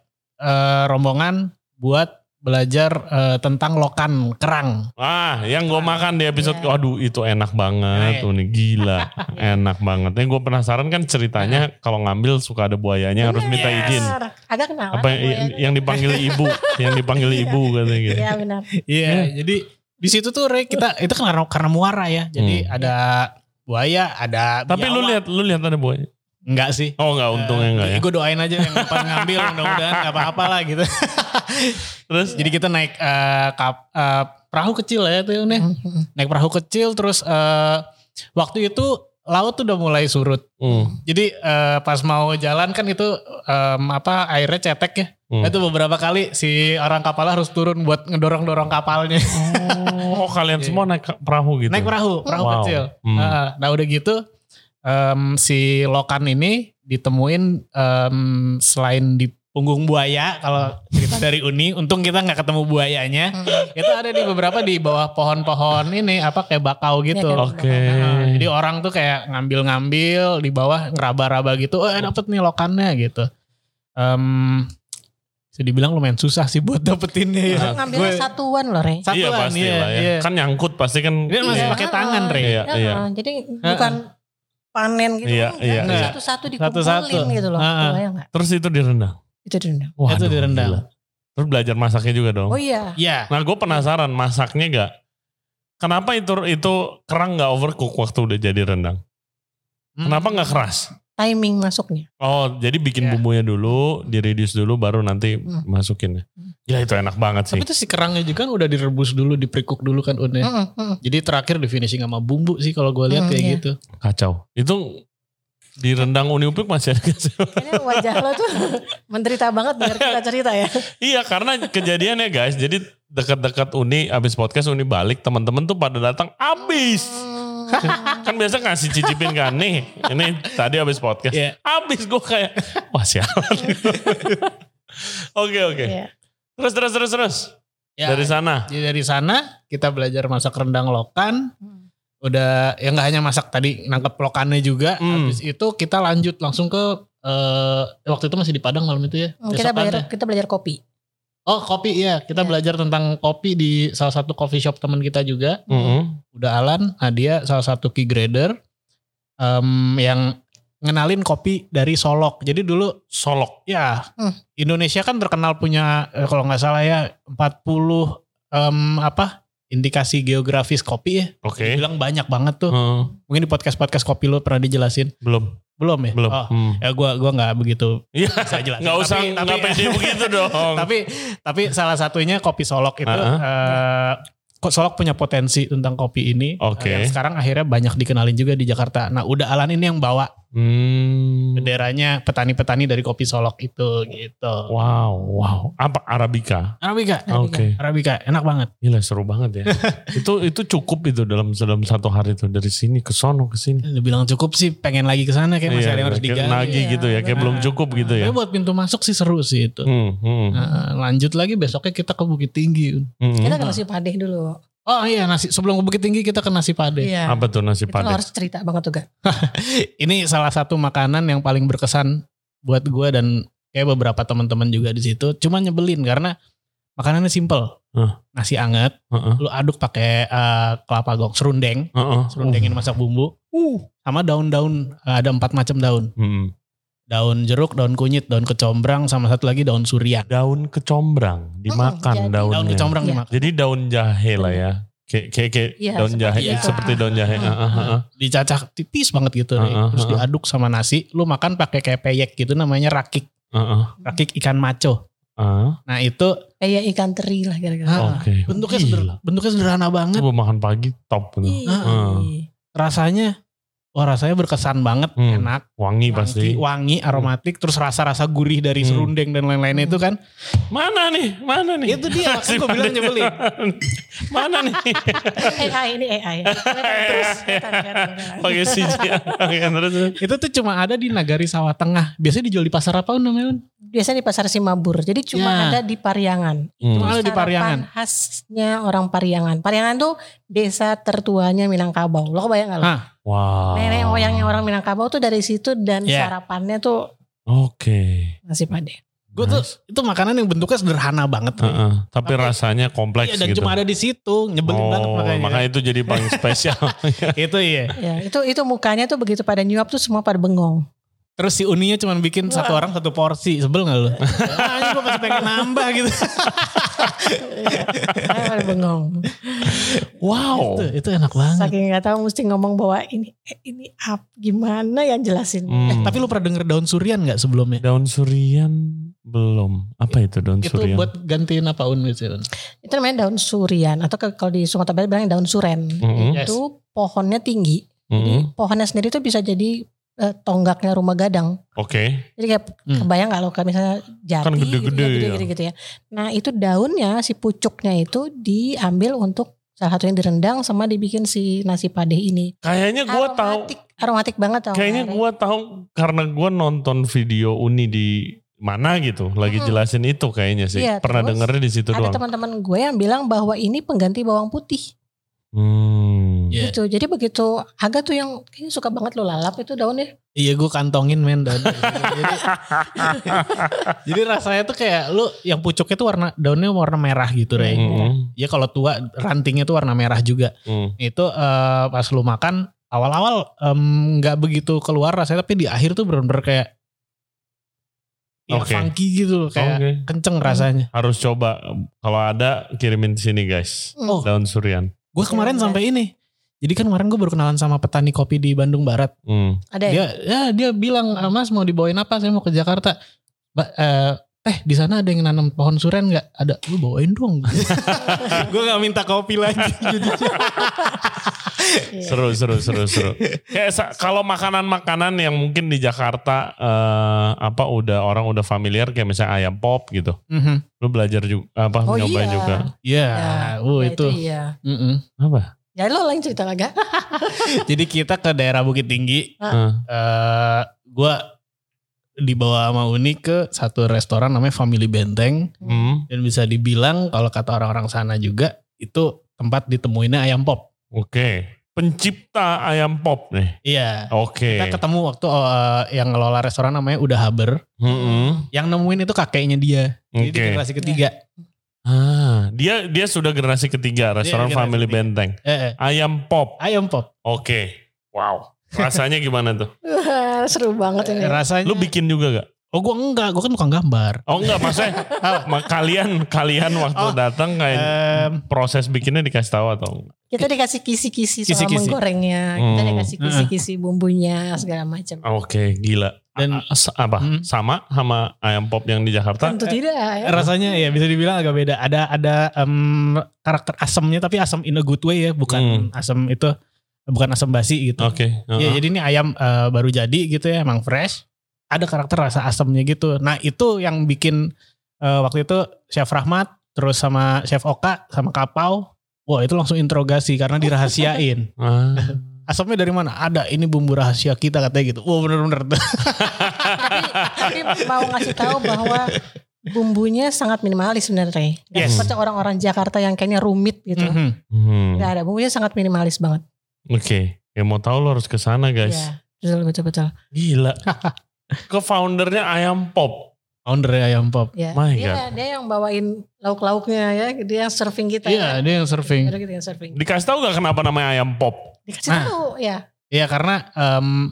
S1: eh, rombongan buat belajar eh, tentang lokan kerang.
S3: Ah, yang gue makan di episode,
S2: Iya.
S3: aduh itu enak banget,
S1: Iya.
S3: tuh nih gila, enak banget. Yang gue penasaran kan ceritanya
S1: Iya.
S3: kalau ngambil suka ada buayanya harus minta
S2: Benar.
S3: izin.
S2: Agak kenalan. ya,
S3: Apa yang,
S2: buayanya.
S3: yang dipanggil ibu, yang dipanggil ibu katanya gitu.
S2: Iya benar.
S1: Iya, jadi di situ tuh Re, kita itu karena karena muara ya. Jadi
S3: Hmm.
S1: ada buaya, ada
S3: Tapi lu lihat, lu lihat ada buaya?
S1: enggak sih?
S3: Oh nggak, untungnya enggak ya.
S1: Gue doain aja yang depan ngambil mudah-mudahan gak apa-apa lah gitu.
S3: Terus,
S1: Jadi kita naik eh, kap- eh, perahu kecil ya tuh
S3: Hmm. Nah,
S1: nih. Naik perahu kecil terus eh, waktu itu laut tuh udah mulai surut.
S3: hmm,
S1: Jadi eh, pas mau jalan kan itu em, apa airnya cetek ya.
S3: hmm.
S1: Itu beberapa kali si orang kapal harus turun buat ngedorong-dorong kapalnya.
S3: Oh, kalian semua naik ke- perahu gitu?
S1: Iya. Naik perahu, perahu
S3: Wow.
S1: kecil.
S3: Hmm.
S1: Heeh. Nah udah gitu em, si lokan ini ditemuin em, selain di punggung buaya kalau cerita dari Uni, untung kita nggak ketemu buayanya. Itu ada di beberapa di bawah pohon-pohon ini apa kayak bakau gitu.
S2: Iya,
S3: Oke.
S1: Heeh.
S3: Hmm.
S1: Jadi orang tuh kayak ngambil-ngambil di bawah ngeraba-raba gitu. Oh dapet nih lokannya gitu. Em, bisa dibilang lumayan susah sih buat dapetinnya ya.
S2: Ngambilnya
S1: Gue-
S2: satuan loh, Rey.
S1: satuan,
S3: iya pasti
S1: iya,
S3: lah ya.
S1: iya.
S3: Kan nyangkut pasti kan.
S1: Dia masih
S3: iya.
S1: pakai tangan, Re.
S3: Iya,
S2: Ya,
S3: iya.
S2: Jadi bukan panen gitu.
S3: Iya,
S2: enggak.
S3: iya,
S2: Jadi
S1: iya.
S2: Satu-satu dikumpulin
S1: Satu-satu.
S2: gitu loh.
S1: Ah, ah.
S2: Kebayang nggak?
S3: Terus itu direndam.
S2: Itu direndam.
S3: Wah,
S1: Itu direndam.
S3: Terus belajar masaknya juga dong.
S2: Oh iya.
S1: Iya.
S3: Nah, gue penasaran masaknya gak? Kenapa itu itu kerang nggak overcook waktu udah jadi rendang?
S1: Hmm.
S3: Kenapa nggak keras?
S2: Timing masuknya.
S3: Oh, jadi bikin
S1: Ya.
S3: bumbunya dulu, di reduce dulu, baru nanti
S2: Iya. Hmm.
S3: masukin ya. Ya itu enak banget sih.
S1: Tapi tuh si kerangnya juga kan udah direbus dulu, di pre-cook dulu kan Unnya.
S3: Iya.
S2: Mm-mm, mm-mm.
S1: Jadi terakhir di finishing sama bumbu sih kalau gue lihat
S2: Hmm,
S1: kayak
S2: iya.
S1: gitu.
S3: Kacau. Itu di rendang Uni Upik masih ada kasih.
S2: Kayaknya wajah lo tuh menderita banget biar kita cerita ya.
S3: Iya karena kejadiannya guys. Jadi dekat-dekat Uni abis podcast Uni balik teman-teman tuh pada datang abis. Kan biasa ngasih cicipin kan nih. Ini tadi abis podcast.
S1: Iya.
S3: Abis gue kayak wah sialan. Oke oke.
S2: Iya.
S3: Terus terus terus terus.
S1: Ya,
S3: Dari sana.
S1: jadi dari sana kita belajar masak rendang lokan.
S2: Hmm.
S1: Udah ya nggak hanya masak tadi nangkep lokannya juga.
S3: Hmm.
S1: Habis itu kita lanjut langsung ke eh, waktu itu masih di Padang malam itu ya.
S2: Mm, kita
S1: Besokan
S2: belajar
S1: ya.
S2: kita belajar kopi.
S1: Oh kopi ya. Kita
S2: Ya.
S1: belajar tentang kopi di salah satu coffee shop teman kita juga.
S3: Mm-mm.
S1: udah Alan, nah dia salah satu key grader em, yang ngenalin kopi dari Solok. Jadi dulu
S3: Solok.
S1: ya
S2: Hmm.
S1: Indonesia kan terkenal punya eh, kalau nggak salah ya 40 em, apa indikasi geografis kopi ya.
S3: Oke.
S1: Bilang banyak banget tuh.
S3: Hmm,
S1: Mungkin di podcast podcast kopi lu pernah dijelasin.
S3: belum
S1: Belum ya?
S3: belum.
S1: Oh,
S3: Hmm.
S1: ya gua gua nggak begitu
S3: Iya.
S1: bisa jelasin.
S3: Nggak
S1: Tapi-
S3: usah
S1: tapi-
S3: nggak pede begitu dong.
S1: tapi tapi salah satunya kopi Solok itu
S3: Uh-uh.
S1: eh, kok Solok punya potensi tentang kopi ini.
S3: Oke.
S1: Eh, yang sekarang akhirnya banyak dikenalin juga di Jakarta. Nah, udah Alan ini yang bawa
S3: Hmm.
S1: benderanya petani-petani dari kopi Solok itu gitu.
S3: Wow wow. Apa Arabica? Ah,
S1: Arabica,
S3: Oke.
S1: Arabica enak banget.
S3: Gila seru banget ya. itu itu cukup itu dalam dalam satu hari itu dari sini ke sono ke sini.
S1: Udah bilang cukup sih, pengen lagi ke sana kayak masih
S3: Iya,
S1: ada yang harus
S3: kayak
S1: digali.
S3: Nagih
S2: Iya,
S3: gitu ya, kayak
S1: benar. Iya.
S3: belum cukup gitu ya.
S1: Tapi buat pintu masuk sih seru sih itu.
S3: Hmm, hmm,
S1: Nah, lanjut lagi besoknya kita ke Bukit Tinggi.
S3: hmm.
S2: Kita ke nasi padeh dulu.
S1: Oh iya, nasi sebelum ke Bukit Tinggi kita ke nasi padeh. Ah,
S2: Iya.
S3: Apa tuh nasi
S2: Itu lo
S3: padang?
S2: harus cerita banget tuh, Gak.
S1: ini salah satu makanan yang paling berkesan buat gue dan kayak beberapa teman-teman juga di situ. Cuma nyebelin karena makanannya simple
S3: Hah.
S1: nasi anget
S3: Heeh.
S1: lu aduk pakai eh, kelapa gong serundeng
S3: Heeh.
S1: serundengin masak bumbu sama daun-daun eh, ada empat macam daun
S3: Hmm.
S1: daun jeruk daun kunyit daun kecombrang sama satu lagi daun surian
S3: Daun kecombrang dimakan
S2: Oh, jadi
S3: daunnya.
S1: daun kecombrang
S2: Iya.
S1: dimakan
S3: Jadi daun jahe lah ya. Kayak kayak kayak
S2: Iya,
S3: daun
S2: seperti
S3: jahe
S1: itu.
S3: seperti daun jahe. Ah,
S2: Hmm.
S3: Heeh, heeh, heeh.
S1: dicacah tipis banget gitu
S3: Heeh,
S1: terus
S3: heeh.
S1: diaduk sama nasi lu makan pakai kayak peyek gitu namanya rakik
S3: Heeh.
S1: rakik ikan maco
S3: Ah,
S1: nah itu
S2: Kayak ikan teri lah kira-kira.
S1: Ah,
S3: Oke.
S1: bentuknya
S3: Gila.
S1: sederhana, bentuknya sederhana banget
S3: Itu makan pagi top gitu.
S2: Iya.
S1: Ah.
S3: Heeh.
S1: rasanya wah rasanya berkesan banget
S3: Hmm.
S1: enak
S3: Wangi pasti.
S1: wangi, wangi aromatik terus rasa-rasa gurih dari
S3: Hmm.
S1: serundeng dan lain-lain itu kan
S3: Mana nih? Mana nih?
S1: itu dia makanya gue bilang nyebelin
S3: Mana nih?
S2: AI ini AI. Terus. Bentar, bentar, bentar.
S3: Pakai CGI. Oke, terus.
S1: itu tuh cuma ada di Nagari Sawah Tengah biasanya dijual di pasar apa namanya Un?
S2: Biasanya di pasar Simabur. Jadi cuma
S1: Ya.
S2: ada di Pariangan.
S1: cuma
S3: Hmm.
S1: ada di
S2: Sarapan
S1: Pariangan
S2: khasnya orang Pariangan. Pariangan tuh desa tertuanya Minangkabau. Lo kebayang gak lo?
S1: Hah. Ah.
S3: Wow.
S2: Nenek moyangnya orang Minangkabau tuh dari situ dan
S1: Yeah.
S2: sarapannya tuh
S3: Oke.
S2: nasi pade.
S1: gue tuh itu makanan yang bentuknya sederhana banget
S3: Heeh. Ah, Tapi
S1: Tapi-
S3: rasanya kompleks
S1: Iya, dan
S3: gitu.
S1: cuma ada di situ
S3: oh,
S1: nyebelin banget
S3: makanya.
S1: makanya,
S3: itu jadi paling spesial.
S1: itu iya
S2: Ya, itu itu mukanya tuh begitu pada nyuap tuh semua pada bengong.
S1: terus si uninya cuma bikin satu orang satu porsi sebel gak lu? Ah, gue masih pengen nambah gitu
S2: Saya pada bengong.
S3: wow.
S1: itu, itu enak banget
S2: Saking nggak tahu mesti ngomong bahwa ini eh, ini apa gimana yang jelasin.
S3: Hmm.
S1: Eh, Tapi lu pernah denger daun surian nggak sebelumnya?
S3: daun surian belum. Apa itu daun
S1: Itu
S3: surian?
S1: buat gantiin apa un gitu. Un?
S2: Itu namanya daun surian atau ke- kalau di Sumatera Barat bilangnya daun suren.
S3: Mm-mm.
S1: Yes.
S2: Itu pohonnya tinggi. Jadi
S3: Mm-mm.
S2: pohonnya sendiri tuh bisa jadi eh, tonggaknya rumah gadang.
S3: Oke.
S2: Jadi kayak
S1: Hmm.
S2: kebayang gak lo kayak misalnya jati
S3: Kan
S2: gitu,
S3: gede-gede
S2: ya,
S3: ya.
S2: gitu ya. Nah itu daunnya si pucuknya itu diambil untuk salah satunya direndang sama dibikin si nasi padeh ini.
S3: Kayaknya gua tahu.
S2: aromatik, aromatik banget tau.
S3: Kayaknya
S2: Rek.
S3: gua tahu karena gua nonton video Uni di mana gitu lagi
S2: Hmm.
S3: jelasin itu kayaknya sih.
S2: Iya,
S3: Pernah
S2: terus
S3: dengernya di situ
S2: Ada
S3: doang.
S2: teman-teman gue yang bilang bahwa ini pengganti bawang putih
S3: Hmm.
S1: Iya.
S2: gitu. Jadi begitu agak tuh yang kayaknya suka banget lo lalap itu ya. daunnya.
S1: Iya gue kantongin men daun. jadi, jadi rasanya tuh kayak lu yang pucuknya tuh warna daunnya warna merah gitu
S2: iya.
S1: Rey.
S3: Mm-mm.
S1: Ya kalau tua rantingnya tuh warna merah juga.
S3: Mm.
S1: Itu eh, pas lu makan awal-awal em, nggak begitu keluar rasanya tapi di akhir tuh bener-bener kayak ya,
S3: Oke.
S1: funky gitu loh, kayak
S3: Oke.
S1: kenceng rasanya.
S3: Harus coba kalau ada kirimin di sini guys.
S2: Oh.
S3: Daun surian.
S1: Gue kemarin
S2: Keren,
S1: sampai ini. Jadi kan kemarin gue baru kenalan sama petani kopi di Bandung Barat.
S3: Hmm.
S2: Ada ya?
S1: dia ya dia bilang "Ah, mas mau dibawain apa saya mau ke Jakarta Ba- eh, teh di sana ada yang nanam pohon suren nggak ada lu bawain dong gue nggak minta kopi lagi
S2: Iya.
S3: Seru, seru, seru, seru. Kayak sa- kalau makanan-makanan yang mungkin di Jakarta eh, apa udah orang udah familiar kayak misalnya ayam pop gitu.
S1: Mhm.
S3: Lu belajar juga apa
S2: Oh
S3: nyobain
S2: iya.
S3: juga.
S1: ya oh
S2: Ya,
S1: itu
S2: iya.
S1: Mm-mm.
S3: Apa?
S2: Ya lo lain cerita agak.
S1: jadi kita ke daerah Bukit Tinggi
S3: Eh,
S1: eh gue dibawa sama Uni ke satu restoran namanya Family Benteng
S3: hmm.
S1: dan bisa dibilang kalau kata orang-orang sana juga itu tempat ditemuinnya ayam pop
S3: Oke. Pencipta ayam pop nih.
S1: iya
S3: Oke.
S1: kita ketemu waktu eh, yang ngelola restoran namanya udah Haber
S3: Mm-mm.
S1: Yang nemuin itu kakeknya dia. Jadi
S3: Hmm, Oke.
S1: di generasi ketiga.
S3: Ah, dia dia sudah generasi ketiga restoran
S1: generasi
S3: Family
S1: ketiga.
S3: Benteng.
S1: Eh, eh,
S3: Ayam pop.
S1: ayam pop.
S3: Oke. Wow. Rasanya gimana tuh?
S2: Wah, Seru banget ini.
S1: Rasanya.
S3: Lu bikin juga gak?
S1: Oh gue enggak, gue kan bukan gambar.
S3: Oh enggak maksudnya ma- kalian kalian waktu
S1: Oh,
S3: datang kayak
S1: Em,
S3: proses bikinnya dikasih tahu atau enggak?
S2: Kita dikasih kisi-kisi soal
S1: Kisi-kisi.
S2: menggorengnya, kita
S3: Hmm.
S2: dikasih kisi-kisi bumbunya segala macam.
S3: Oke, gila. Dan
S1: Dan-
S3: apa?
S1: Hmm.
S3: Sama sama ayam pop yang di Jakarta?
S2: Tentu tidak ya.
S1: rasanya ya bisa dibilang agak beda. Ada ada em, karakter asamnya tapi asam in a good way ya, bukan asam itu bukan asam basi gitu.
S3: Oke.
S1: Ya
S3: heeh.
S1: jadi ini ayam eh, baru jadi gitu ya, emang fresh. Ada karakter rasa asamnya gitu. Nah itu yang bikin eh, waktu itu Chef Rahmat terus sama Chef Oka sama Kapau. Wah itu langsung interogasi karena dirahasiain.
S3: Ah.
S1: asamnya dari mana? Ada ini bumbu rahasia kita katanya gitu. Wah bener-bener.
S2: tapi, tapi mau ngasih tahu bahwa bumbunya sangat minimalis sebenarnya. Gak
S3: Yes.
S2: seperti orang-orang Jakarta yang kayaknya rumit gitu.
S1: Mhm.
S3: Hmm.
S2: Gak ada bumbunya sangat minimalis banget.
S3: Oke. Ya mau tahu lo harus ke sana, guys.
S1: Iya.
S2: Ya, betul betul betul.
S3: Gila. ke foundernya ayam pop.
S1: Founder ya ayam pop.
S2: Ya.
S3: My
S2: dia, dia yang bawain lauk-lauknya ya, dia yang serving kita. ya.
S1: Iya, dia yang surfing.
S2: Dia yang serving.
S3: Dikasih tahu gak kenapa namanya ayam pop?
S2: Dikasih
S1: Nah.
S2: tahu ya.
S1: Iya, karena em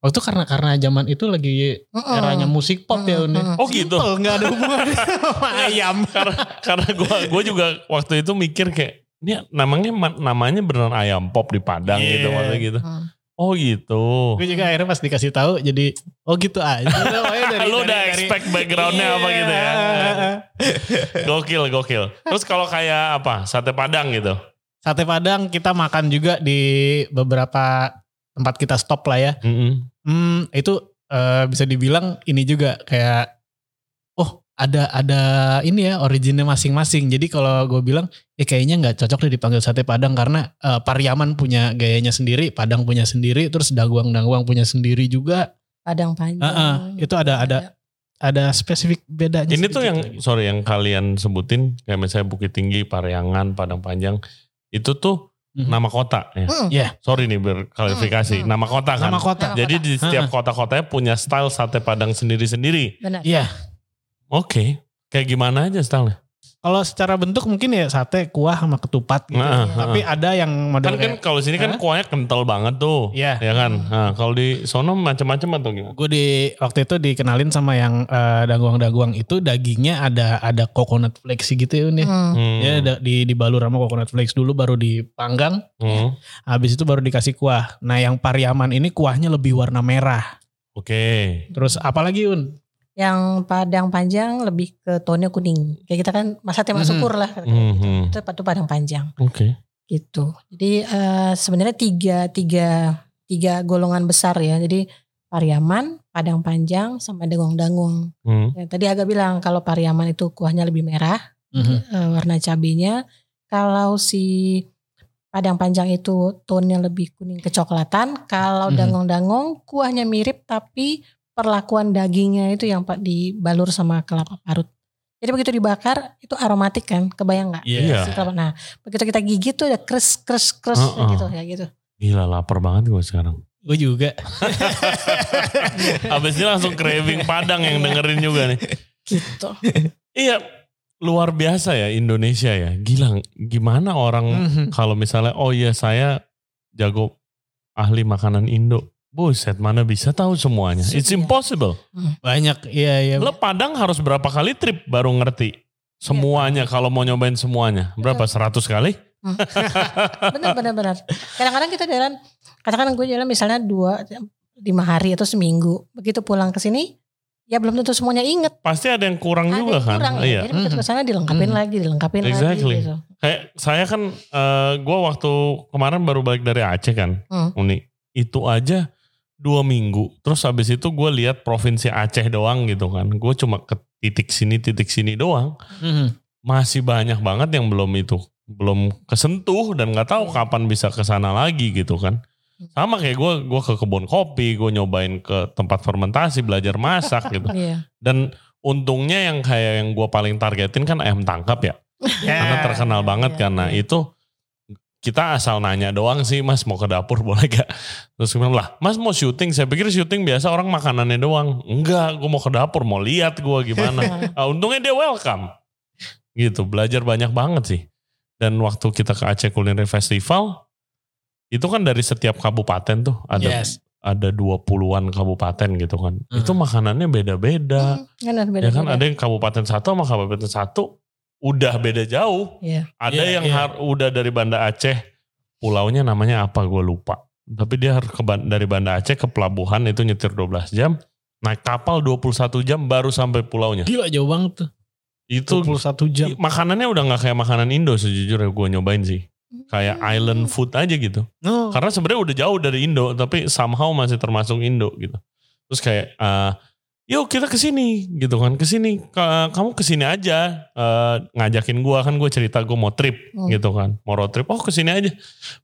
S1: waktu karena karena zaman itu lagi
S2: Mm-mm.
S1: eranya musik pop
S2: Mm-mm.
S1: ya Uni.
S3: Oh gitu.
S1: Simple, nggak ada hubungan sama ayam.
S3: karena karena gua gua juga waktu itu mikir kayak ini namanya ma- namanya beneran ayam pop di Padang
S1: Iya.
S3: gitu maksudnya gitu.
S2: Hmm.
S3: Oh gitu.
S1: Gue juga akhirnya pas dikasih tahu jadi oh gitu aja. Pokoknya dari-
S3: Lu udah
S1: dari- dari-
S3: expect backgroundnya apa
S1: Iya.
S3: gitu ya? Gokil, gokil. Terus kalau kayak apa? Sate Padang gitu.
S1: Sate Padang kita makan juga di beberapa tempat kita stop lah ya.
S3: Mm-mm.
S1: Hmm, itu eh, bisa dibilang ini juga kayak oh ada ada ini ya originnya masing-masing. Jadi kalau gue bilang ya kayaknya nggak cocok deh dipanggil sate Padang karena eh, Pariaman punya gayanya sendiri, Padang punya sendiri, terus Daguang-Daguang punya sendiri juga.
S2: Padang panjang. Iya,
S1: Heeh, itu ada ada ada spesifik bedanya.
S3: Ini
S1: sedikit
S3: tuh yang
S1: lagi.
S3: sorry yang kalian sebutin kayak misalnya Bukit Tinggi, Pariangan, Padang Panjang itu tuh
S1: Mhm.
S3: nama kota ya.
S2: Mm.
S3: Sorry nih
S2: Mm,
S3: berklarifikasi.
S2: mm.
S3: Nama kota kan.
S1: Iya. nama kota. Hmm.
S2: Nama
S3: Jadi di setiap kota-kotanya punya style sate Padang sendiri-sendiri.
S2: Benar.
S1: Iya.
S3: Oke. Kayak gimana aja stylenya?
S1: Kalau secara bentuk mungkin ya sate kuah sama ketupat gitu.
S3: Nah,
S2: Iya.
S1: Tapi ada yang
S3: kan
S1: model
S3: kan
S1: kayak
S3: kalau sini kan
S1: Hah?
S3: kuahnya kental banget tuh.
S1: Iya.
S3: Ya kan. Nah, kalau di sono macam-macam atau gimana?
S1: gue di waktu itu dikenalin sama yang eh, daguang-daguang itu dagingnya ada ada coconut flakes gitu ya Uni.
S2: Hmm.
S3: Hmm.
S1: Ya da- di dibalur sama coconut flakes dulu baru dipanggang,
S3: Hmm.
S1: habis itu baru dikasih kuah. Nah, yang Pariaman ini kuahnya lebih warna merah.
S3: Oke.
S1: Terus apalagi Un?
S2: Yang Padang panjang lebih ke tone kuning. Kayak kita kan masa tema
S1: Mhm.
S2: syukur lah.
S3: Mhm.
S2: Itu itu Padang panjang
S3: Oke.
S2: gitu. Jadi eh, sebenarnya tiga tiga tiga golongan besar ya. Jadi Pariaman, Padang Panjang, sama Dangung-Dangung.
S3: Hmm.
S2: Ya, tadi agak bilang kalau Pariaman itu kuahnya lebih merah, eh, warna cabenya. Kalau si Padang Panjang itu tone lebih kuning kecoklatan. Kalau
S1: Mhm.
S2: dangung-dangung kuahnya mirip tapi perlakuan dagingnya itu yang pak dibalur sama kelapa parut. Jadi begitu dibakar itu aromatik kan, kebayang nggak?
S3: Iya.
S2: Si kelapa. Nah begitu kita gigit tuh ada kres kres kres
S3: Uh-uh.
S2: gitu ya gitu.
S3: Gila lapar banget gue sekarang.
S1: Gue juga.
S3: Abis ini langsung craving Padang yang dengerin juga nih.
S2: Gitu.
S3: Iya. Luar biasa ya Indonesia ya. Gila gimana orang
S2: Hmm.
S1: Mhm.
S3: kalau misalnya oh iya saya jago ahli makanan Indo. Buset mana bisa tahu semuanya. It's
S2: Iya.
S3: impossible.
S1: Banyak. Iya, iya.
S3: Lo Padang harus berapa kali trip baru ngerti
S2: Iya.
S3: semuanya kalau mau nyobain semuanya. Berapa? 100 kali?
S2: benar benar benar kadang-kadang kita jalan katakan gue jalan misalnya dua lima hari atau seminggu begitu pulang ke sini ya belum tentu semuanya inget
S3: Pasti ada yang kurang
S2: ada
S3: juga
S2: yang
S3: kan?
S2: kurang ya.
S3: Iya. Hmm.
S2: jadi begitu ke sana dilengkapin
S1: Mhm.
S2: lagi dilengkapin
S3: Exactly.
S2: lagi gitu
S3: Kayak saya kan eh, gua waktu kemarin baru balik dari Aceh kan.
S2: Hmm.
S3: Uni. Itu aja dua minggu. Terus habis itu gue lihat provinsi Aceh doang gitu kan. Gue cuma ke titik sini titik sini doang.
S1: Mhm.
S3: Masih banyak banget yang belum itu belum kesentuh dan nggak tahu kapan bisa ke sana lagi gitu kan. Sama kayak gue, gue ke kebun kopi, gue nyobain ke tempat fermentasi, belajar masak gitu.
S2: iya
S3: Dan untungnya yang kayak yang gue paling targetin kan ayam tangkap ya,
S1: Ya.
S3: karena terkenal
S2: Iya,
S3: banget
S2: iya,
S3: karena
S2: iya.
S3: itu kita asal nanya doang sih, Mas mau ke dapur boleh gak? Terus gue bilang lah, Mas mau syuting? Saya pikir syuting biasa orang makanannya doang. Enggak, gue mau ke dapur, mau lihat gue gimana.
S2: Nah.
S3: Ah, untungnya dia welcome. Gitu, belajar banyak banget sih. Dan waktu kita ke Aceh Culinary Festival, itu kan dari setiap kabupaten tuh ada
S1: Yes.
S3: ada 20-an kabupaten gitu kan.
S1: Hmm.
S3: Itu makanannya beda-beda.
S2: Mhm. benar benar
S3: Ya kan ada yang kabupaten satu sama kabupaten satu udah beda jauh.
S2: Iya.
S3: Ada
S1: Iya,
S3: yang
S1: iya.
S3: har- udah dari Banda Aceh, pulaunya namanya apa gue lupa. Tapi dia harus ke Ban- dari Banda Aceh ke pelabuhan itu nyetir 12 jam, naik kapal 21 jam baru sampai pulaunya.
S1: Gila jauh banget tuh.
S3: Itu
S1: 21 jam.
S3: i- makanannya udah nggak kayak makanan Indo sejujurnya gue nyobain sih. Kayak
S2: Mhm.
S3: island food aja gitu.
S1: No.
S3: Karena sebenarnya udah jauh dari Indo, tapi somehow masih termasuk Indo gitu. Terus kayak, eh, yuk kita ke sini gitu kan, ke sini. Ka- Kamu ke sini aja eh, ngajakin gua kan gue cerita gue mau trip
S2: Hmm.
S3: gitu kan, mau road trip. Oh ke sini aja.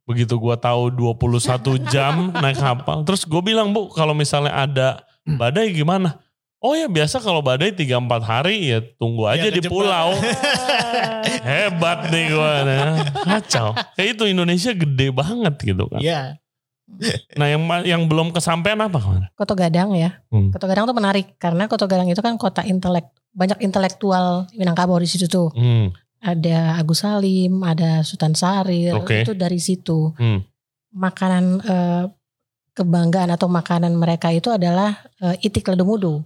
S3: Begitu gua tahu 21 jam naik kapal. Terus gue bilang bu, kalau misalnya ada badai gimana? Oh ya biasa kalau badai 3-4 hari ya tunggu aja
S1: Ya, ke
S3: di
S1: Jepang.
S3: pulau. Eh? ya. Hebat nih gue. Kacau. Kayak itu Indonesia gede banget gitu kan.
S1: Iya.
S3: Nah yang ma- yang belum kesampaian apa kemarin?
S2: Koto Gadang ya.
S3: Hmm.
S2: Koto Gadang tuh menarik karena Koto Gadang itu kan kota intelek banyak intelektual Minangkabau di situ tuh.
S3: Hmm.
S2: Ada Agus Salim, ada Sultan Sarir,
S3: Oke.
S2: itu dari situ.
S3: Hmm.
S2: Makanan eh, kebanggaan atau makanan mereka itu adalah eh, itik ledumudu.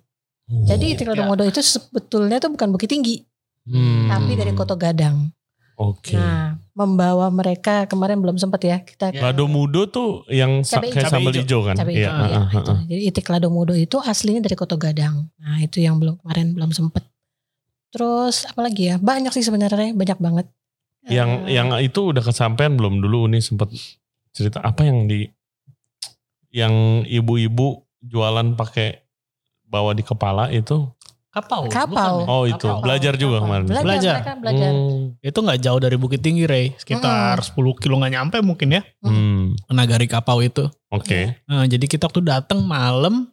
S3: Oh.
S2: Jadi itik
S1: Ya.
S3: iya.
S2: ledumudu itu sebetulnya tuh bukan Bukit Tinggi,
S3: Hmm.
S2: tapi dari Koto Gadang.
S3: Oke. Iya.
S2: Nah, membawa mereka kemarin belum sempat ya kita
S1: Ya.
S3: Lado mudo tuh yang sa-
S2: Cabai
S3: kayak
S1: hijau.
S3: sambal hijau kan?
S2: cabai
S3: Iya,
S2: hijau, ya,
S3: ah, ah,
S2: itu.
S3: ah.
S2: Jadi itik lado mudo itu aslinya dari Koto Gadang. Nah itu yang belum kemarin belum sempet. Terus apalagi ya banyak sih sebenarnya banyak banget.
S3: Yang
S2: Eh,
S3: yang itu udah kesampaian belum dulu nih sempet cerita apa yang di yang ibu-ibu jualan pakai bawa di kepala itu?
S1: Kapau.
S2: Kapau.
S1: bukan ya?
S3: Oh itu
S1: Kapau.
S3: belajar
S2: apa?
S3: juga kemarin.
S2: Belajar,
S1: Belajar.
S2: mereka belajar.
S3: Hmm.
S1: Itu nggak jauh dari Bukit Tinggi, Rey. Sekitar 10 kilo nggak nyampe mungkin ya.
S3: Hmm.
S1: Nagari Kapau itu.
S2: Iya.
S3: Oke.
S1: Nah, jadi kita waktu datang malam.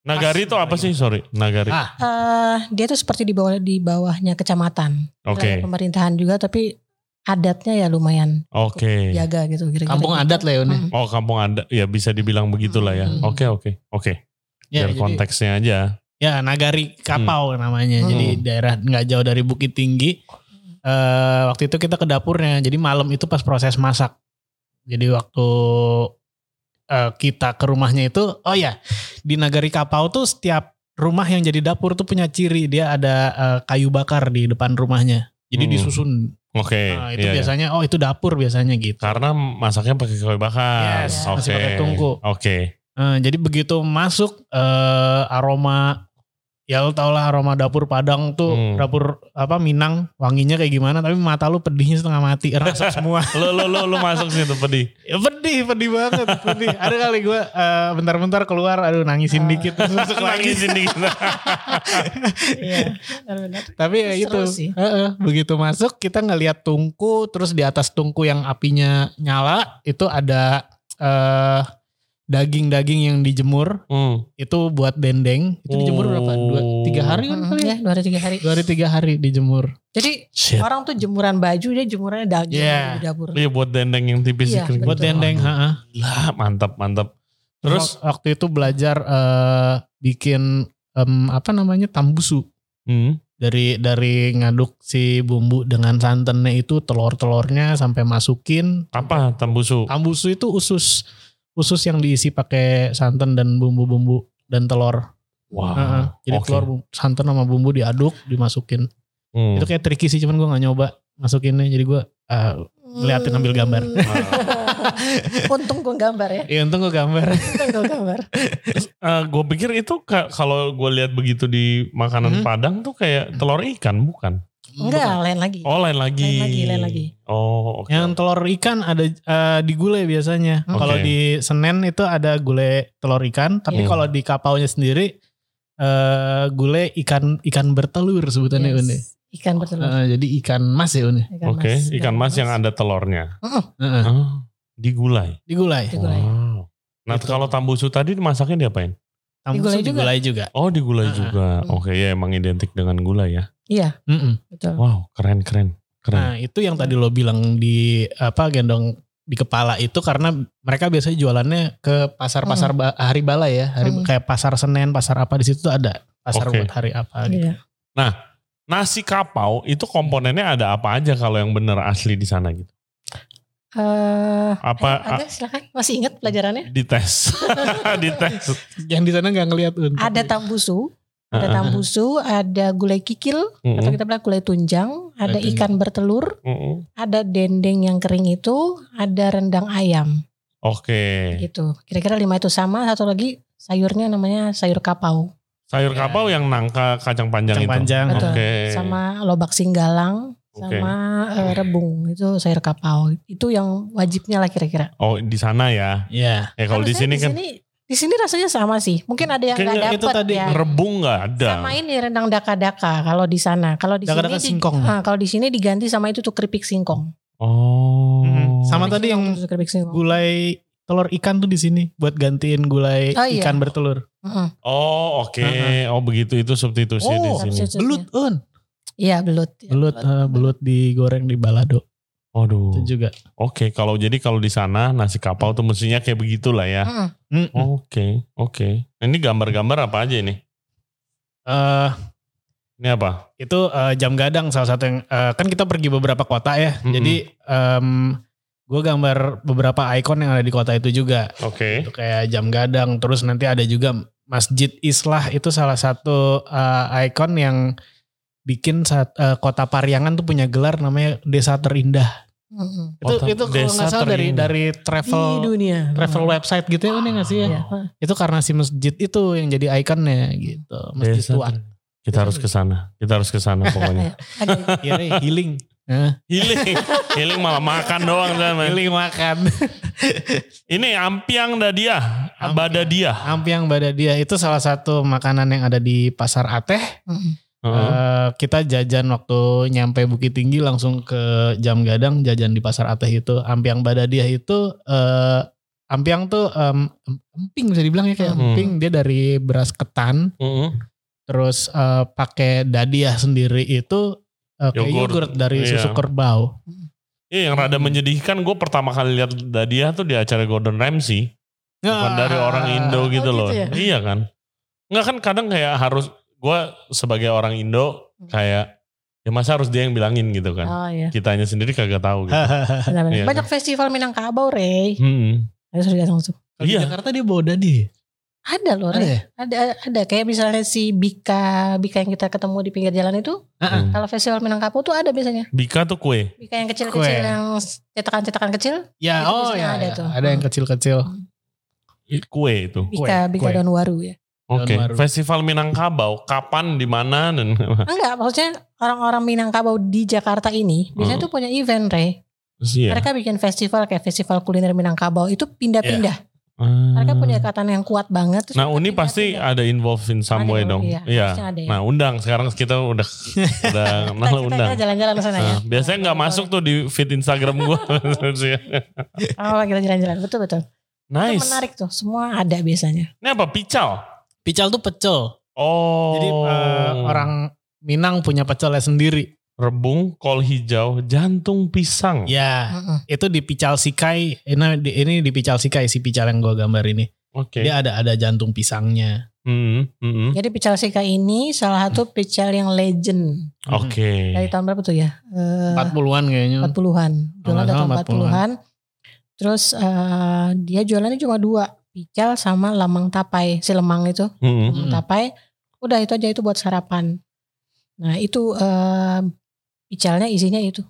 S3: Nagari itu apa sih? Sorry, nagari.
S1: Ah.
S2: Eh, dia tuh seperti di bawah di bawahnya kecamatan. Ada
S3: Oke,
S2: Pemerintahan juga tapi adatnya ya lumayan
S3: oke.
S2: jaga gitu. Kira -kira
S1: Kampung adat lah ya, Uni.
S3: Oh kampung ada, ya bisa dibilang begitulah ya.
S2: Hmm.
S3: Oke, oke, oke.
S1: Ya,
S3: Biar
S1: jadi-
S3: konteksnya aja.
S1: ya Nagari Kapau namanya.
S2: Hmm.
S1: Jadi daerah nggak jauh dari Bukit Tinggi. Eh waktu itu kita ke dapurnya. Jadi malam itu pas proses masak. Jadi waktu eh, kita ke rumahnya itu, oh ya di Nagari Kapau tuh setiap rumah yang jadi dapur tuh punya ciri dia ada eh, kayu bakar di depan rumahnya. Jadi
S3: Hmm.
S1: disusun.
S3: Oke.
S1: Nah, itu
S3: iya, iya.
S1: biasanya, oh itu dapur biasanya gitu.
S3: Karena masaknya pakai kayu bakar.
S2: Yes,
S3: Oke.
S1: masih pakai tungku.
S3: Oke.
S1: Eh, jadi begitu masuk eh, aroma ya lo tau lah aroma dapur Padang tuh
S3: Hmm.
S1: dapur apa Minang wanginya kayak gimana tapi mata lu pedihnya setengah mati rasa semua
S3: Lu lu lu lu masuk situ pedih.
S1: ya pedih pedih banget pedih ada kali gue eh, bentar-bentar keluar aduh nangisin
S2: Ah.
S1: dikit terus masuk lagi
S3: Nangisin dikit.
S2: Iya, benar-benar.
S1: tapi ya
S2: Seru
S1: gitu
S2: sih.
S1: Heeh, begitu masuk kita ngelihat tungku terus di atas tungku yang apinya nyala itu ada eh, daging-daging yang dijemur
S3: Hmm.
S1: itu buat dendeng itu dijemur berapa dua
S3: Oh.
S1: tiga hari kan
S2: Mm-mm,
S1: kali
S2: ya,
S1: ya?
S2: dua hari tiga hari.
S1: dua hari tiga hari dijemur.
S2: Jadi
S3: Shit.
S2: orang tuh jemuran baju dia jemurannya daging
S1: Yeah.
S2: di dapur.
S3: Iya buat dendeng yang tipis
S2: Iya,
S3: dikit.
S1: Buat
S2: Betul.
S1: dendeng,
S3: Waduh,
S1: ha-ha.
S3: Gila, mantap mantap.
S1: Terus
S3: Terus
S1: waktu itu belajar eh, bikin em, apa namanya tambusu
S3: hmm,
S1: dari dari ngaduk si bumbu dengan santannya itu telur-telurnya sampai masukin.
S3: apa tembusu?
S1: Tambusu itu usus usus yang diisi pakai santan dan bumbu-bumbu dan telur.
S3: Wah.
S1: Ha-ha. Jadi
S3: oke.
S1: telur bumbu- santan sama bumbu diaduk dimasukin.
S3: Hmm.
S1: Itu kayak tricky sih cuman gua nggak nyoba masukinnya. Jadi gua eh, Liatin, ambil gambar.
S2: Mm. Untung gue gambar ya.
S1: ya untung gua gambar.
S2: Untung gue gambar.
S3: gue Ah, eh, pikir itu ka- kalau gue lihat begitu di makanan
S1: Hmm.
S3: Padang tuh kayak telur ikan bukan?
S2: Enggak, lain lagi.
S3: Oh lain lagi.
S2: Lain lagi, lain lagi.
S3: Oh oke.
S1: Yang telur ikan ada eh, di gulai biasanya.
S2: Hmm.
S1: Kalau
S3: Oke.
S1: di Senen itu ada gulai telur ikan,
S3: Hmm.
S1: tapi kalau di kapaunya sendiri eh gulai ikan ikan bertelur sebutannya
S2: Yes.
S1: Uni.
S2: Ikan bertelur.
S1: Eh, jadi ikan mas ya Uni.
S2: Ikan
S3: Oke, ikan mas yang ada telurnya.
S1: Heeh,
S3: Ah, digulai.
S1: Di gulai.
S2: Digulai.
S3: Wow. Nah
S1: Gitu.
S3: kalau tambusu tadi dimasaknya diapain?
S1: Tambah
S2: Digulai
S1: susu,
S2: juga.
S1: digulai juga.
S3: Oh digulai
S1: Ah,
S3: juga.
S2: ah.
S3: Oke ya emang identik dengan gulai ya.
S1: Mm-mm.
S2: Betul.
S3: Wow keren keren keren.
S1: Nah itu yang tadi lo bilang di apa gendong di kepala itu karena mereka biasanya jualannya ke pasar-pasar ba- hari balai ya, hari
S2: Hmm.
S1: kayak pasar Senen, pasar apa di situ tuh ada pasar
S3: Oke.
S1: buat hari apa gitu.
S2: Iya.
S3: Nasi kapau itu komponennya ada apa aja kalau yang bener asli di sana gitu?
S2: Eh,
S3: Apa
S2: ayo, Angga, silakan. Masih ingat pelajarannya?
S3: dites? dites.
S1: Yang di sana nggak ngelihat Uni.
S3: Iya.
S2: Ada tambusu, ada
S3: Heeh. Hmm.
S2: tambusu, ada gulai kikil atau
S3: Mm-mm,
S2: kita bilang gulai tunjang, ada
S1: tunjang.
S2: ikan bertelur,
S3: mm-mm.
S2: ada dendeng yang kering itu, ada rendang ayam
S3: Oke.
S2: gitu. Kira-kira lima itu sama, satu lagi sayurnya namanya sayur kapau
S3: Sayur
S1: Ya.
S3: kapau yang nangka kacang panjang
S1: Kacang
S3: itu.
S1: panjang.
S3: Oke.
S2: Betul. sama lobak singgalang
S3: Oke.
S2: sama eh, rebung itu sayur kapau. Itu yang wajibnya lah kira-kira.
S3: Oh di sana ya.
S1: Iya.
S3: Ya kalau di
S2: Harusnya
S3: sini kan
S2: di sini rasanya sama sih. Mungkin ada yang
S3: Kayaknya
S2: nggak
S1: itu
S2: dapat
S1: tadi
S2: ya.
S3: rebung nggak ada.
S2: Sama ini rendang daka-daka kalau di sana. Kalau di sini
S1: Daka-daka
S2: di-
S1: singkong.
S2: Ah, kalau di sini diganti sama itu tuh keripik singkong.
S3: Oh.
S1: Mm-mm. Sama
S2: Keripik singkong,
S1: tadi yang
S2: itu tuh keripik singkong.
S1: gulai telur ikan tuh di sini buat gantiin gulai
S2: Oh, iya.
S1: ikan bertelur.
S2: Mm-mm.
S3: Oh oke,
S1: Heeh.
S3: oh begitu itu substitusi
S1: Oh,
S3: di sini.
S2: substitusinya.
S1: Belut, Un.
S2: Iya belut. Ya,
S1: Belut eh, belut digoreng di balado.
S3: Waduh.
S1: Itu juga.
S3: Oke, kalau jadi kalau di sana nasi kapau tuh mestinya kayak begitulah ya.
S2: Mm-mm.
S1: Mm-mm.
S3: Oke, oke. Ini gambar-gambar apa aja ini?
S1: Eh,
S3: Ini apa?
S1: itu eh, jam gadang salah satu yang eh, kan kita pergi beberapa kota ya.
S3: Mm-mm.
S1: Jadi gue gambar beberapa ikon yang ada di kota itu juga.
S3: Oke.
S1: Itu kayak jam gadang terus nanti ada juga Masjid Islah itu salah satu eh, ikon yang bikin saat, eh, kota Pariangan tuh punya gelar namanya Desa Terindah.
S2: Mm-mm.
S1: Itu
S3: Kota-
S1: itu kalau
S3: Desa
S1: nggak salah dari
S3: Terindah.
S1: dari travel
S2: di dunia.
S1: travel website gitu ya bener nggak sih ya?
S2: Iya, heeh.
S1: Itu karena si masjid itu yang jadi ikonnya gitu. Masjid
S3: Desa
S1: tua.
S3: Ter- Kita harus ke sana. Kita harus ke sana pokoknya.
S2: Ada
S1: Iya deh, healing. Hah?
S3: healing, healing malah makan doang sama.
S1: healing makan.
S3: Ini ampiang dadia,
S1: Ampiang.
S3: badadia.
S1: Ampiang badadia itu salah satu makanan yang ada di pasar Ateh.
S2: Mm-mm.
S3: Heeh.
S1: Eh, kita jajan waktu nyampe Bukit Tinggi langsung ke Jam Gadang jajan di pasar Ateh itu. Ampiang badadia itu eh ampiang tuh em, em- emping bisa dibilang ya kayak
S3: Hmm.
S1: emping dia dari beras ketan.
S3: Heeh.
S1: terus eh, pakai dadiah sendiri itu eh, kayak
S3: Yogurt.
S1: yogurt, dari
S3: Iya.
S1: susu kerbau.
S3: Iya, yang rada menyedihkan gue pertama kali lihat dadia tuh di acara Gordon Ramsay. Bukan dari
S1: Ah.
S3: orang Indo gitu
S2: Ah. gitu
S3: loh.
S2: ya?
S3: Iya kan? Enggak kan kadang kayak harus gue sebagai orang Indo kayak ya masa harus dia yang bilangin gitu kan.
S2: Hmm. Oh iya.
S3: Kitanya sendiri kagak tahu gitu.
S2: Benar, benar.
S3: Iya.
S2: Banyak festival Minangkabau, Rey.
S1: Hmm.
S3: Mm-mm.
S2: Ayo sudah datang tuh.
S1: Kalau di
S3: Iya.
S1: Jakarta dia bawa dadi.
S2: Ada loh,
S1: Ada
S2: Rey.
S1: ya?
S2: Ada, ada. Kayak misalnya si Bika, Bika yang kita ketemu di pinggir jalan itu.
S1: Heeh.
S3: Mm.
S2: Kalau festival Minangkabau tuh ada biasanya.
S3: Bika tuh kue.
S2: Bika yang kecil-kecil,
S1: Kue.
S2: yang cetakan-cetakan kecil.
S1: Ya,
S2: Itu
S1: oh
S2: biasanya
S1: ya.
S2: ada
S1: Ada,
S2: tuh.
S1: ada yang kecil-kecil.
S3: Kue itu.
S2: Bika,
S1: Kue,
S2: Bika
S1: kue.
S2: Daun Waru ya.
S3: Oke,
S1: Baru.
S3: Festival Minangkabau kapan di mana dan
S2: Enggak, maksudnya orang-orang Minangkabau di Jakarta ini biasanya
S3: Hmm.
S2: tuh punya event, Rey.
S3: Iya.
S2: Mereka bikin festival kayak festival kuliner Minangkabau itu pindah-pindah.
S3: Ah.
S2: Mereka punya ikatan yang kuat banget. terus
S3: Nah,
S2: mereka
S3: Uni pasti
S2: pindah-pindah.
S3: ada involved in
S2: ya.
S3: some
S2: Ada
S3: way
S2: dong,
S3: dong.
S2: iya. Harusnya ada ya.
S3: Nah, undang sekarang kita udah udah
S2: Nah,
S3: kenal
S2: kita,
S3: undang.
S2: kita jalan-jalan ke sana ya.
S3: Nah, biasanya nggak masuk tuh di feed Instagram gua. ya.
S2: Oh, kita jalan-jalan. Betul betul. Itu
S3: nice.
S2: menarik tuh. Semua ada biasanya.
S3: Ini apa pical?
S1: Pical tuh pecel.
S3: Oh.
S1: Jadi eh, orang Minang punya pecelnya sendiri.
S3: rebung, kol hijau, jantung pisang. Hmm.
S1: Ya,
S2: Heeh.
S1: itu di pical sikai. Ini di, ini di pical sikai si pical yang gua gambar ini.
S3: Oke.
S1: Dia ada ada jantung pisangnya.
S3: Mm, mm, mm.
S2: Jadi pical Sika ini salah satu
S3: Hmm.
S2: pical yang legend
S3: Oke.
S1: Nah,
S2: dari tahun berapa tuh ya? Eh,
S1: 40-an kayaknya.
S2: 40-an. Jualan
S1: Kalau nggak
S2: dari
S1: salah
S2: tahun 40-an. Terus eh, dia jualannya cuma dua, pical sama lemang tapai, si lemang itu,
S3: Mm,
S2: lemang
S1: Mm-mm.
S2: tapai. Udah itu aja itu buat sarapan. Nah, itu eh, picalnya isinya itu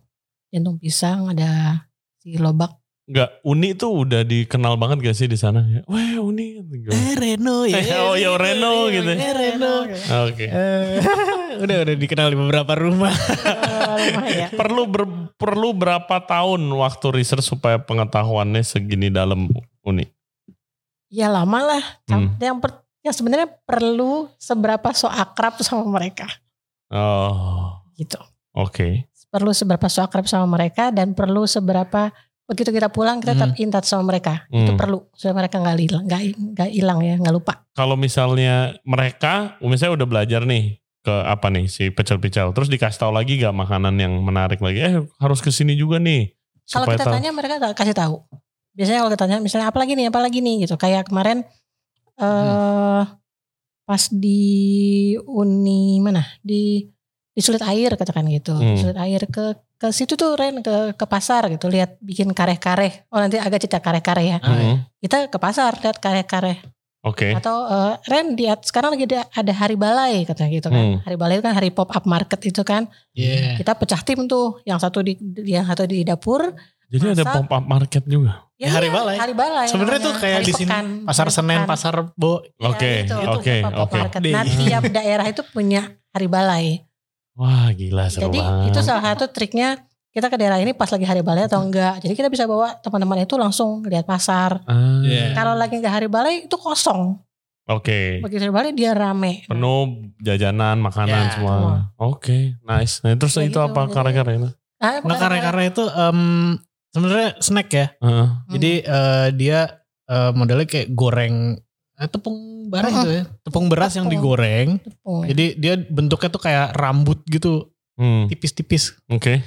S2: jantung pisang, ada si lobak.
S3: Nggak, Uni tuh udah dikenal banget gak sih di sana? Ya, Wah, Uni. Oke.
S1: Eh, Reno
S3: Eh, oh, ya, Reno gitu.
S1: Eh, Reno. Eh, udah udah dikenal di beberapa rumah.
S2: Rumah ya.
S3: Perlu ber- perlu berapa tahun waktu research supaya pengetahuannya segini dalam Uni?
S2: Ya lama lah.
S3: Hmm.
S2: Yang per- yang sebenarnya perlu seberapa so akrab sama mereka
S3: Oh,
S2: gitu.
S3: oke.
S2: Perlu seberapa so akrab sama mereka dan perlu seberapa begitu kita pulang kita tetap in touch sama mereka. Itu
S3: Hmm.
S2: perlu supaya mereka nggak hilang, nggak nggak hilang ya, nggak lupa.
S3: kalau misalnya mereka misalnya udah belajar nih ke apa nih si pecel-pecel terus dikasih tahu lagi gak makanan yang menarik lagi eh harus ke sini juga nih
S2: Kalau
S3: supaya
S2: kita
S3: tahu.
S2: tanya mereka nggak kasih tahu. Biasanya kalau kita tanya misalnya apa lagi nih, apa lagi nih gitu. Kayak kemarin
S3: Hmm.
S2: eh pas di Uni mana? Di di Sulit Air katakan gitu.
S3: Hmm.
S2: Sulit Air ke ke situ tuh Ren ke ke pasar gitu lihat bikin kareh-kareh. Oh nanti agak cerita kareh-kareh ya.
S3: Mm-mm.
S2: Kita ke pasar lihat kareh-kareh
S3: Hmm, oke
S2: atau eh, Ren di at- sekarang lagi ada, ada hari balai katanya gitu kan.
S3: Hmm. Eh.
S2: Hari balai itu kan hari pop up market itu kan.
S1: Iya.
S2: Kita pecah tim tuh. Yang satu di yang satu di dapur,
S3: jadi ada
S2: masak.
S3: pop up market juga
S2: Ya,
S1: Ya, hari
S2: iya,
S1: balai.
S2: Hari balai.
S1: Sebenarnya
S2: namanya.
S1: tuh kayak
S2: Hari
S1: di sini,
S2: pekan.
S1: Pasar
S2: Hari
S1: Senen,
S2: pekan.
S1: pasar Bo.
S2: Iya,
S3: oke
S2: gitu. Itu
S3: oke
S2: pop-up
S3: oke
S2: market. Nah, tiap daerah itu punya hari balai.
S3: wah gila seru
S2: Jadi
S3: banget
S2: itu salah satu triknya kita ke daerah ini pas lagi hari balai atau enggak. Jadi kita bisa bawa teman-teman itu langsung lihat pasar.
S3: Ah,
S1: Iya.
S2: Kalau lagi enggak hari balai itu kosong.
S3: oke
S2: Begitu hari balai dia rame.
S3: penuh jajanan makanan
S1: Ya,
S3: semua
S2: semua.
S3: oke nice nah, terus
S2: Ya
S3: itu
S2: gitu,
S3: apa
S2: jadi-
S3: karya-karya itu
S2: Nah,
S1: Nah, karena karena itu em, sebenarnya snack ya.
S3: Heeh.
S2: Hmm,
S1: Jadi eh, dia eh, modelnya kayak goreng eh, tepung beras
S2: Mm-mm.
S1: gitu ya. Tepung beras yang
S2: Tepung.
S1: digoreng.
S2: tepung.
S1: Jadi dia bentuknya tuh kayak rambut gitu,
S3: Hmm,
S1: tipis-tipis.
S3: oke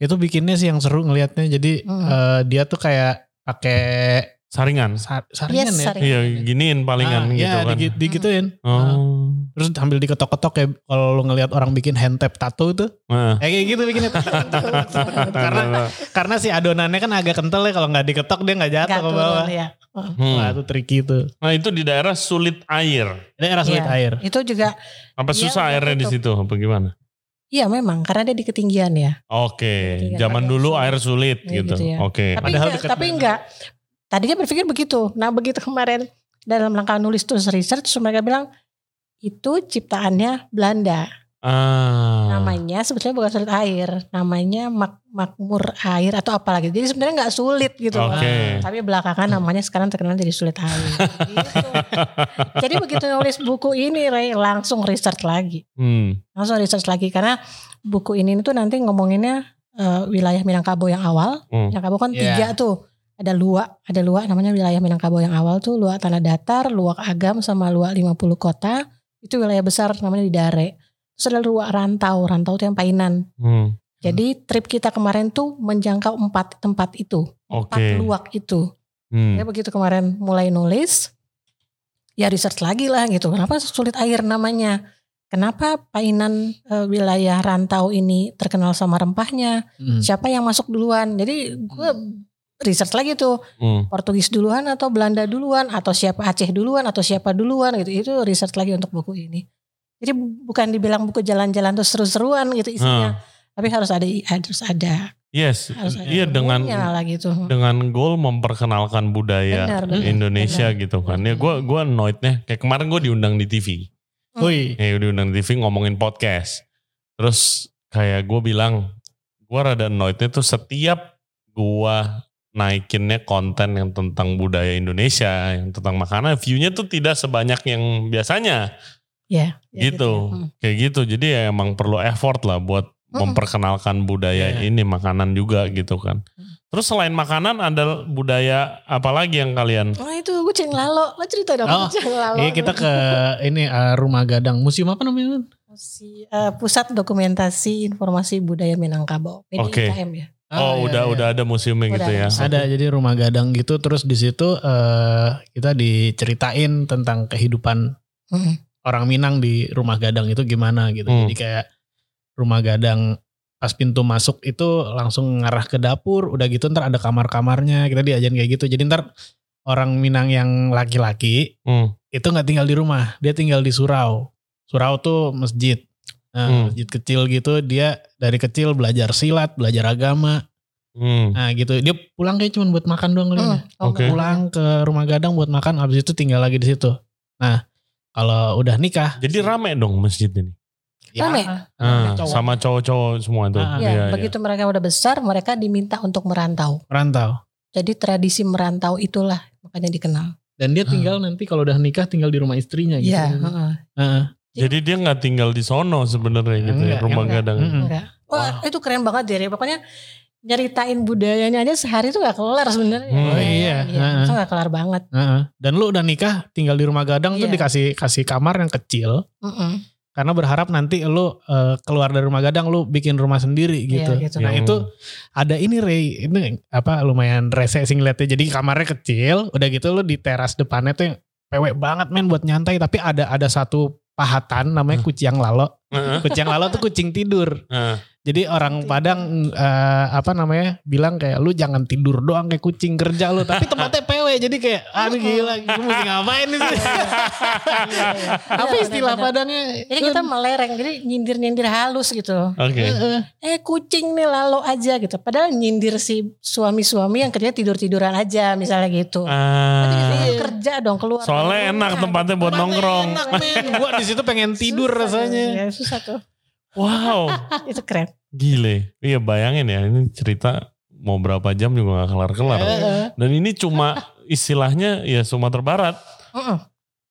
S1: itu bikinnya sih yang seru ngelihatnya jadi
S2: Hmm.
S1: eh, dia tuh kayak pakai
S3: Saringan.
S1: sa- saringan
S2: Yes,
S1: ya
S2: saringan.
S3: Iya, giniin palingan
S1: Ah,
S3: gitu
S1: ya,
S3: kan.
S1: digi- digituin Ah,
S3: Oh.
S1: terus sambil diketok-ketok ya kalau lu ngelihat orang bikin hand tap tato tuh
S3: Nah.
S1: ya kayak gitu bikinnya karena karena si adonannya kan agak kental ya kalau nggak diketok dia nggak iya. jatuh ke bawah
S2: ya.
S3: Hmm.
S1: Wah itu tricky tuh
S3: Nah itu di daerah sulit air.
S1: daerah sulit
S2: Iya.
S1: air
S2: Itu juga
S3: Apa
S2: Iya,
S3: susah
S2: udah
S3: airnya di
S2: tutup.
S3: situ? Apa gimana?
S2: iya memang karena dia di ketinggian ya.
S3: Oke,
S2: Iya,
S3: zaman
S2: agak
S3: dulu
S2: sulit.
S3: air sulit
S2: Iya,
S3: gitu.
S2: gitu ya.
S3: Oke.
S2: Tapi
S1: Padahal
S2: enggak,
S1: deket
S2: tapi
S1: banget.
S2: enggak. Tadinya berpikir begitu. Nah, begitu kemarin dalam langkah nulis terus research terus mereka bilang itu ciptaannya Belanda.
S3: Ah.
S2: Namanya sebetulnya bukan sulit air, namanya mak- makmur air atau apalah gitu. Jadi sebenarnya nggak sulit gitu.
S3: Oke.
S2: Tapi belakangan namanya sekarang terkenal jadi sulit air. Gitu. Jadi begitu nulis buku ini Ray, langsung research lagi.
S3: Hmm.
S2: Langsung research lagi karena buku ini tuh nanti ngomonginnya eh, wilayah Minangkabau yang awal.
S3: Hmm.
S2: Minangkabau kan
S1: Iya.
S2: tiga tuh. Ada luak, ada luak namanya wilayah Minangkabau yang awal tuh luak tanah datar, luak agam sama luak 50 kota. Itu wilayah besar namanya di Dare. Terus ada luak rantau, rantau tuh yang painan.
S3: Hmm.
S2: Jadi trip kita kemarin tuh menjangkau empat tempat itu, empat
S3: Oke.
S2: luak itu.
S3: Hmm.
S2: Ya begitu kemarin mulai nulis, ya research lagi lah gitu. Kenapa sulit air namanya? Kenapa painan eh, wilayah rantau ini terkenal sama rempahnya?
S1: Hmm.
S2: Siapa yang masuk duluan? Jadi gue research lagi tuh
S3: Hmm.
S2: Portugis duluan atau Belanda duluan atau siapa Aceh duluan atau siapa duluan gitu. Itu research lagi untuk buku ini. Jadi bu- bukan dibilang buku jalan-jalan terus seru-seruan gitu isinya,
S3: Hmm.
S2: tapi harus ada harus ada
S3: Yes.
S2: harus ada
S3: Iya dengan
S2: ilmunya lah gitu.
S3: dengan goal memperkenalkan budaya
S2: Benar, Hmm, benar,
S3: Indonesia gitu kan. Ya gue gue annoyed nih. Kayak kemarin gue diundang di TV.
S1: Woi,
S3: Ya diundang di TV ngomongin podcast. Terus kayak gue bilang gue rada annoyednya tuh setiap gue naikinnya konten yang tentang budaya Indonesia, yang tentang makanan, view-nya tuh tidak sebanyak yang biasanya
S2: Ya, ya
S3: gitu.
S2: Hmm.
S3: Kayak gitu. Jadi ya emang perlu effort lah buat
S2: Mm-mm.
S3: memperkenalkan budaya
S1: Iya.
S3: ini makanan juga gitu kan. Terus selain makanan ada budaya apa lagi yang kalian?
S2: Wah Oh, itu gue Ceng Lalo, lo cerita dong
S1: Oh,
S2: Ceng Lalo.
S1: Iya kita ke ini eh, rumah gadang museum apa namanya?
S2: Si, eh, Pusat Dokumentasi Informasi Budaya Minangkabau, PDIKM ya.
S1: Ah,
S3: oh
S1: iya,
S3: udah
S1: iya.
S3: udah ada museumnya
S2: Udah
S3: gitu
S2: ada
S3: ya.
S2: museum.
S1: Ada jadi rumah gadang gitu terus di situ eh, kita diceritain tentang kehidupan
S2: Mm.
S1: orang Minang di rumah gadang itu gimana gitu.
S3: Hmm.
S1: Jadi kayak rumah gadang pas pintu masuk itu langsung ngarah ke dapur, udah gitu ntar ada kamar-kamarnya. Kita diajarin kayak gitu. Jadi ntar orang Minang yang laki-laki
S3: Hmm.
S1: itu nggak tinggal di rumah, dia tinggal di surau. Surau tuh masjid. Nah,
S3: Hmm.
S1: masjid kecil gitu dia dari kecil belajar silat, belajar agama.
S3: Hmm.
S1: Nah, gitu. Dia pulang kayak cuma buat makan doang kali ya.
S2: Hmm. oh,
S3: Oke.
S1: Pulang ke rumah gadang buat makan habis itu tinggal lagi di situ. Nah, kalau udah nikah
S3: Jadi rame dong masjid ini.
S1: Ya.
S2: Rame.
S3: Ah,
S1: cowok.
S3: sama cowok-cowok semua Iya, tuh.
S1: Ah,
S2: Ya, begitu mereka udah besar, mereka diminta untuk merantau.
S1: merantau.
S2: Jadi tradisi merantau itulah makanya dikenal.
S1: Dan dia tinggal nanti kalau udah nikah tinggal di rumah istrinya gitu.
S2: Iya, heeh.
S1: Heeh.
S3: Jadi dia nggak tinggal di sono sebenarnya gitu ya,
S1: Enggak,
S3: rumah
S2: enggak.
S3: gadang.
S1: Mm-mm.
S2: Enggak. Wah itu keren banget deh, Re. pokoknya nyeritain budayanya aja sehari tuh gak kelar sebenarnya.
S3: Hmm. Oh,
S1: iya.
S2: Itu gak kelar banget.
S1: Heeh. Dan lu udah nikah tinggal di rumah gadang tuh
S2: Iya.
S1: dikasih kasih kamar yang kecil
S2: Mm-mm.
S1: karena berharap nanti lu eh, keluar dari rumah gadang lu bikin rumah sendiri
S2: Iya,
S1: gitu.
S2: gitu.
S1: Nah,
S3: Yang-
S1: itu ada ini Ray, ini apa lumayan rese sih ngeliatnya. Jadi kamarnya kecil, udah gitu lu di teras depannya tuh yang pewek banget men buat nyantai tapi ada ada satu pahatan namanya kucing lalo.
S3: Heeh.
S1: Kucing lalo tuh kucing tidur.
S3: Heeh.
S1: Jadi orang Padang eh, apa namanya bilang kayak lu jangan tidur doang kayak kucing kerja lu, tapi tempatnya pewek jadi kayak aduh gila gue mesti ngapain nih sih. apa
S2: Iya,
S1: istilah
S2: benar-benar.
S1: Padangnya?
S2: Jadi kita melereng, jadi nyindir-nyindir halus gitu.
S3: Oke.
S1: Heeh.
S2: eh kucing nih lalo aja gitu. Padahal nyindir si suami-suami yang kerja tidur-tiduran aja misalnya gitu. Tapi di
S3: Ah,
S2: sini kerja dong keluar. Keluar.
S3: soalnya enak tempatnya buat
S1: Tempatnya
S3: nongkrong.
S1: Enak men, gua di situ pengen tidur
S2: Susah
S1: rasanya.
S2: tuh, ya, susah tuh.
S3: Wow,
S2: Itu keren.
S3: gile. Iya bayangin ya, ini cerita mau berapa jam juga nggak kelar-kelar.
S1: Heeh.
S3: Dan ini cuma istilahnya ya Sumatera Barat,
S2: Mm-mm.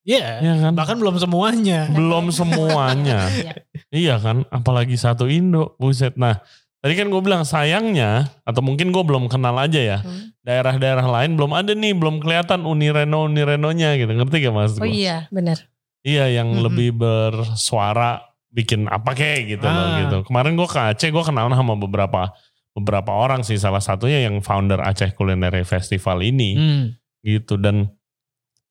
S1: Iya.
S3: ya kan?
S1: Bahkan belum semuanya.
S3: Belum semuanya.
S2: Iya.
S3: Iya kan, apalagi satu Indo, buset. Nah, tadi kan gue bilang sayangnya, atau mungkin gue belum kenal aja ya,
S2: Hmm.
S3: daerah-daerah lain belum ada nih, belum kelihatan Unireno-Unirenonya gitu, ngerti gak mas?
S2: Oh iya, Hmm, benar.
S3: Iya, yang
S1: Mm-mm.
S3: lebih bersuara bikin apa kek gitu loh
S1: Ah.
S3: gitu. Kemarin gue ke Aceh, gue kenal sama beberapa beberapa orang sih salah satunya yang founder Aceh Culinary Festival ini
S1: Hmm.
S3: gitu dan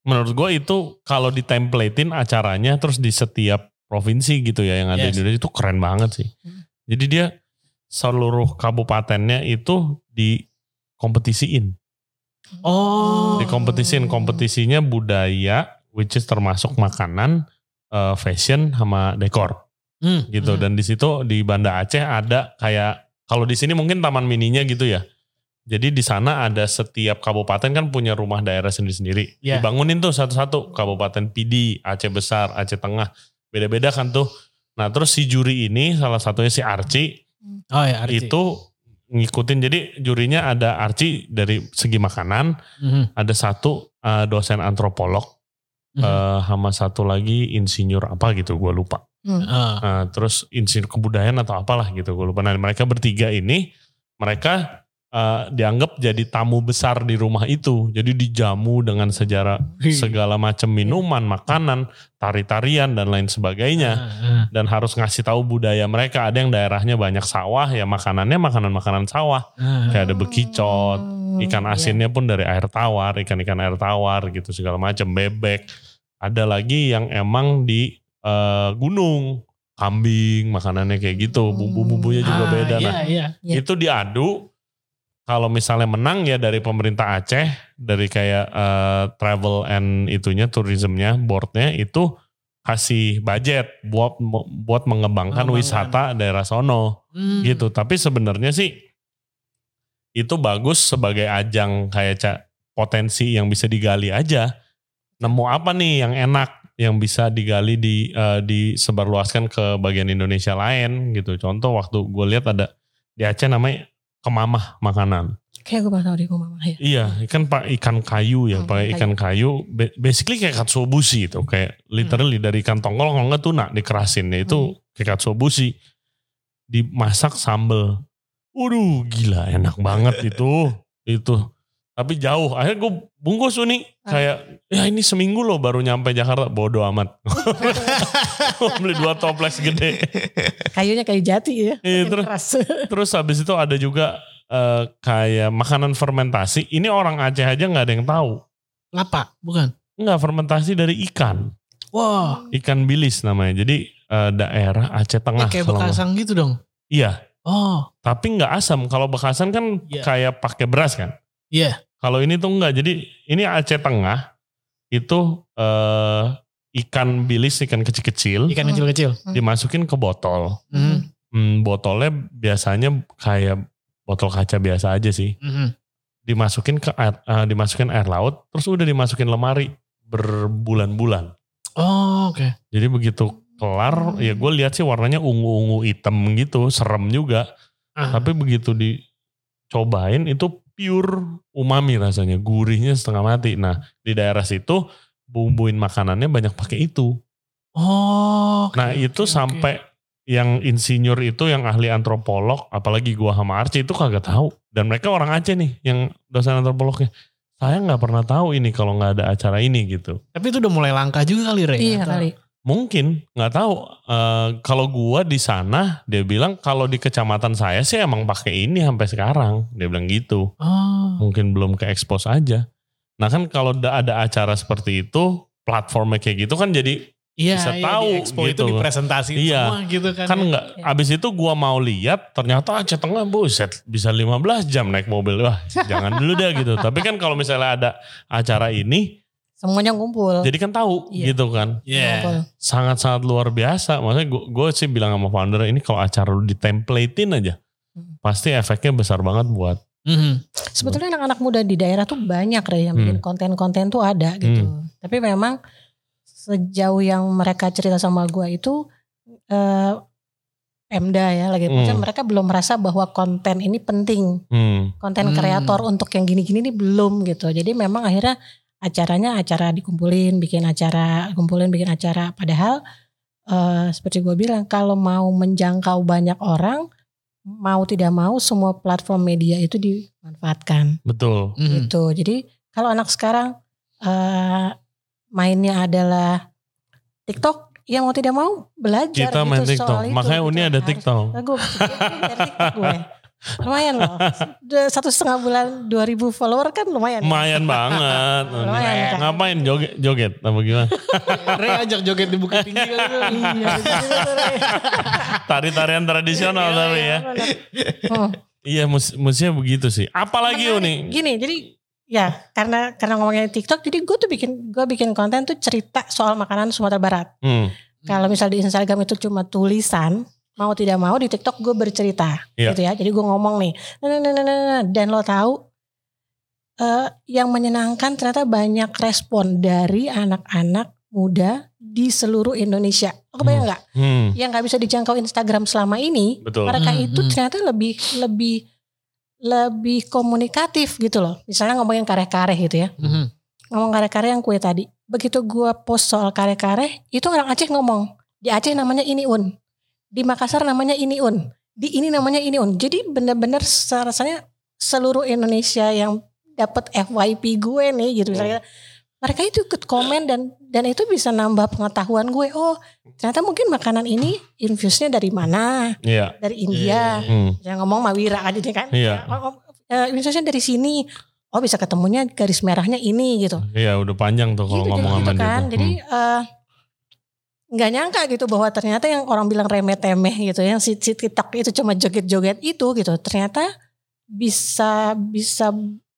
S3: menurut gue itu kalau ditemplatein acaranya terus di setiap provinsi gitu ya yang ada
S1: Yes.
S3: di Indonesia itu keren banget sih
S2: Hmm.
S3: jadi dia seluruh kabupatennya itu dikompetisiin
S1: Oh.
S3: dikompetisiin kompetisinya budaya which is termasuk makanan eh, fashion sama dekor
S1: Hmm.
S3: gitu
S2: Hmm.
S3: dan di situ di Banda Aceh ada kayak kalau di sini mungkin taman mininya gitu ya jadi di sana ada setiap kabupaten kan punya rumah daerah sendiri-sendiri
S1: Iya.
S3: dibangunin tuh satu-satu kabupaten PD Aceh Besar Aceh Tengah beda-beda kan tuh nah terus si juri ini salah satunya si Arci,
S1: Oh ya, Arci.
S3: itu ngikutin jadi jurinya ada Arci dari segi makanan
S1: Mhm.
S3: ada satu eh, dosen antropolog
S1: Mhm.
S3: eh, sama satu lagi insinyur apa gitu gue lupa
S1: Ah.
S3: Nah, terus insinyur kebudayaan atau apalah gitu gue lupa. Nah, mereka bertiga ini mereka eh, dianggap jadi tamu besar di rumah itu. Jadi dijamu dengan sejarah segala macam minuman, makanan, tari-tarian dan lain sebagainya
S1: Ah, ah.
S3: dan harus ngasih tahu budaya mereka. Ada yang daerahnya banyak sawah ya makanannya makanan-makanan sawah.
S1: Ah.
S3: Kayak ada bekicot, Ikan
S2: Iya.
S3: asinnya pun dari air tawar, ikan-ikan air tawar gitu segala macam, bebek. Ada lagi yang emang di eh, gunung, kambing, makanannya kayak gitu, bumbu-bumbunya juga
S1: Ah,
S3: beda.
S1: Iya,
S3: Nah,
S1: iya.
S2: iya.
S3: itu diadu. Kalau misalnya menang ya dari pemerintah Aceh, dari kayak eh, travel and itunya, tourismnya, boardnya itu kasih budget buat buat mengembangkan
S1: Mengembangkan.
S3: wisata daerah sono
S1: Hmm.
S3: gitu. Tapi sebenarnya sih itu bagus sebagai ajang kayak ca- potensi yang bisa digali aja. Nemu apa nih yang enak yang bisa digali di eh, disebarluaskan ke bagian Indonesia lain gitu. Contoh waktu gue lihat ada di Aceh namanya kemamah makanan.
S2: Kayak gue pernah tahu di rumah Mama, ya.
S3: Iya, ikan pak ikan kayu ya,
S2: Hmm,
S3: pakai ikan kayu. Ba- Basically kayak katsuobushi itu, kayak literally dari ikan tonggol kalau nggak tuna dikerasin ya itu kayak katsuobushi dimasak sambel Waduh gila enak banget itu itu tapi jauh akhirnya gue bungkus tuh nih
S2: Ah.
S3: kayak ya ini seminggu loh baru nyampe Jakarta bodoh amat Gua beli dua toples gede
S2: Kayunya kayu jati ya.
S3: Iya,
S2: Makin
S3: terus-
S2: keras.
S3: terus habis itu ada juga eh, kayak makanan fermentasi ini orang Aceh aja nggak ada yang tahu
S1: Lapa, bukan?
S3: nggak fermentasi dari ikan
S1: Wah,
S3: ikan bilis namanya jadi eh, daerah Aceh
S1: ini
S3: Tengah
S1: kayak
S3: kalau nggak-
S1: bekasang gitu dong.
S3: iya
S1: Oh,
S3: tapi nggak asam kalau bekasan kan
S1: Iya.
S3: kayak pakai beras kan
S1: iya.
S3: Kalau ini tuh enggak. Jadi ini Aceh Tengah itu eh, ikan bilis ikan kecil-kecil
S1: Ikan kecil-kecil.
S3: dimasukin ke botol.
S1: Mhm.
S3: Hmm, botolnya biasanya kayak botol kaca biasa aja sih.
S1: Mhm.
S3: Dimasukin ke air, eh, dimasukin air laut, terus udah dimasukin lemari berbulan-bulan.
S1: Oh, oke.
S3: Jadi begitu kelar,
S1: Hmm.
S3: ya gue lihat sih warnanya ungu-ungu hitam gitu, serem juga.
S1: Ah.
S3: Tapi begitu dicobain itu pure umami rasanya, gurihnya setengah mati. Nah di daerah situ bumbuin makanannya banyak pakai itu.
S1: Oh. oke,
S3: Nah
S1: oke,
S3: itu
S1: oke.
S3: sampai yang insinyur itu yang ahli antropolog, apalagi gua sama Arci itu kagak tahu. Dan mereka orang Aceh nih, yang dosen antropolognya. Saya nggak pernah tahu ini kalau nggak ada acara ini gitu.
S1: Tapi itu udah mulai langka juga kali, Rey.
S2: Iya
S1: Atau-
S2: kali.
S3: Mungkin nggak tahu. Eh, kalau gua di sana, dia bilang kalau di kecamatan saya sih emang pakai ini sampai sekarang. Dia bilang gitu.
S1: Oh.
S3: mungkin belum ke expose aja. Nah kan kalau da- ada acara seperti itu platformnya kayak gitu kan jadi
S1: Iya,
S3: Bisa
S1: iya,
S3: tahu
S1: di expo itu
S3: gitu.
S1: dipresentasi
S3: Iya.
S1: semua gitu kan.
S3: kan
S1: ya.
S3: nggak abis itu gua mau lihat ternyata Aceh Tengah buset bisa 15 jam naik mobil wah jangan dulu deh gitu tapi kan kalau misalnya ada acara ini
S2: Semuanya ngumpul.
S3: jadi kan tahu
S2: Iya.
S3: gitu kan
S1: Iya.
S2: Ngumpul.
S3: sangat-sangat luar biasa maksudnya gua, gua sih bilang sama founder ini kalau acara lu ditemplatein aja
S2: Hmm.
S3: pasti efeknya besar banget buat
S1: Mhm.
S2: Sebetulnya anak-anak muda di daerah tuh banyak Rey, yang bikin konten-konten tuh ada gitu. Tapi memang sejauh yang mereka cerita sama gua itu eh Pemda ya lagi
S3: Hmm.
S2: macam mereka belum merasa bahwa konten ini penting.
S3: hmm,
S2: Konten
S1: Hmm.
S2: kreator untuk yang gini-gini ini belum gitu. Jadi memang akhirnya acaranya acara dikumpulin, bikin acara, kumpulin bikin acara padahal eh, seperti gua bilang kalau mau menjangkau banyak orang mau tidak mau semua platform media itu dimanfaatkan
S3: betul
S1: Mhm.
S2: gitu. Jadi kalau anak sekarang eh, mainnya adalah TikTok, ya mau tidak mau belajar
S3: kita
S2: gitu
S3: main
S2: soal
S3: TikTok
S2: itu,
S3: makanya
S2: gitu.
S3: Uni ada
S2: Harus-
S3: TikTok
S2: Nah, gue, dari TikTok gue. lumayan loh Udah satu setengah bulan 2000 follower kan lumayan
S3: Lumayan banget.
S2: Lumayan, Kak.
S3: Ngapain joget, joget apa gimana?
S1: Ray ajak joget di Bukit Tinggi kali Iya, gitu. lu.
S3: Tari-tarian
S2: Iya,
S3: tradisional tapi ya.
S2: Hmm.
S3: Iya, mus musiknya begitu sih. Apalagi
S2: Menarik.
S3: Uni?
S2: gini jadi ya karena karena ngomongin TikTok jadi gue tuh bikin gue bikin konten tuh cerita soal makanan Sumatera Barat
S3: Hmm,
S2: kalau misal di Instagram itu cuma tulisan mau tidak mau di TikTok gue bercerita
S3: Iya.
S2: gitu ya jadi gue ngomong nih nah, nah, nah, nah, nah. dan lo tahu eh, yang menyenangkan ternyata banyak respon dari anak-anak muda di seluruh Indonesia lo kebayang nggak
S3: hmm,
S2: yang nggak bisa dijangkau Instagram selama ini
S3: betul.
S2: mereka
S1: Hmm,
S2: itu
S1: hmm.
S2: ternyata lebih lebih lebih komunikatif gitu loh misalnya ngomongin kareh-kareh gitu ya
S1: Mhm.
S2: ngomong kare-kare yang kue tadi. Begitu gua post soal kare-kare, itu orang Aceh ngomong. Di Aceh namanya ini un. Di Makassar namanya ini un. Di ini namanya ini un. Jadi bener-bener se- rasanya seluruh Indonesia yang dapat FYP gue nih gitu
S3: Hmm.
S2: misalnya. Mereka itu ikut komen dan dan itu bisa nambah pengetahuan gue. Oh, ternyata mungkin makanan ini infusnya dari mana?
S3: Iya.
S2: Dari India.
S3: Hmm,
S2: Jangan ngomong Mawira aja deh kan.
S3: Iya.
S2: Oh, oh, eh, infusnya dari sini. Oh, bisa ketemunya garis merahnya ini gitu
S3: Iya, udah panjang tuh kalau
S2: gitu,
S3: ngomong
S2: gitu
S3: sama dia.
S2: kan.
S3: tuh.
S2: Jadi
S3: Hmm.
S2: eh, nggak nyangka gitu bahwa ternyata yang orang bilang remeh-temeh gitu, yang si, si TikTok itu cuma joget-joget itu gitu, ternyata bisa bisa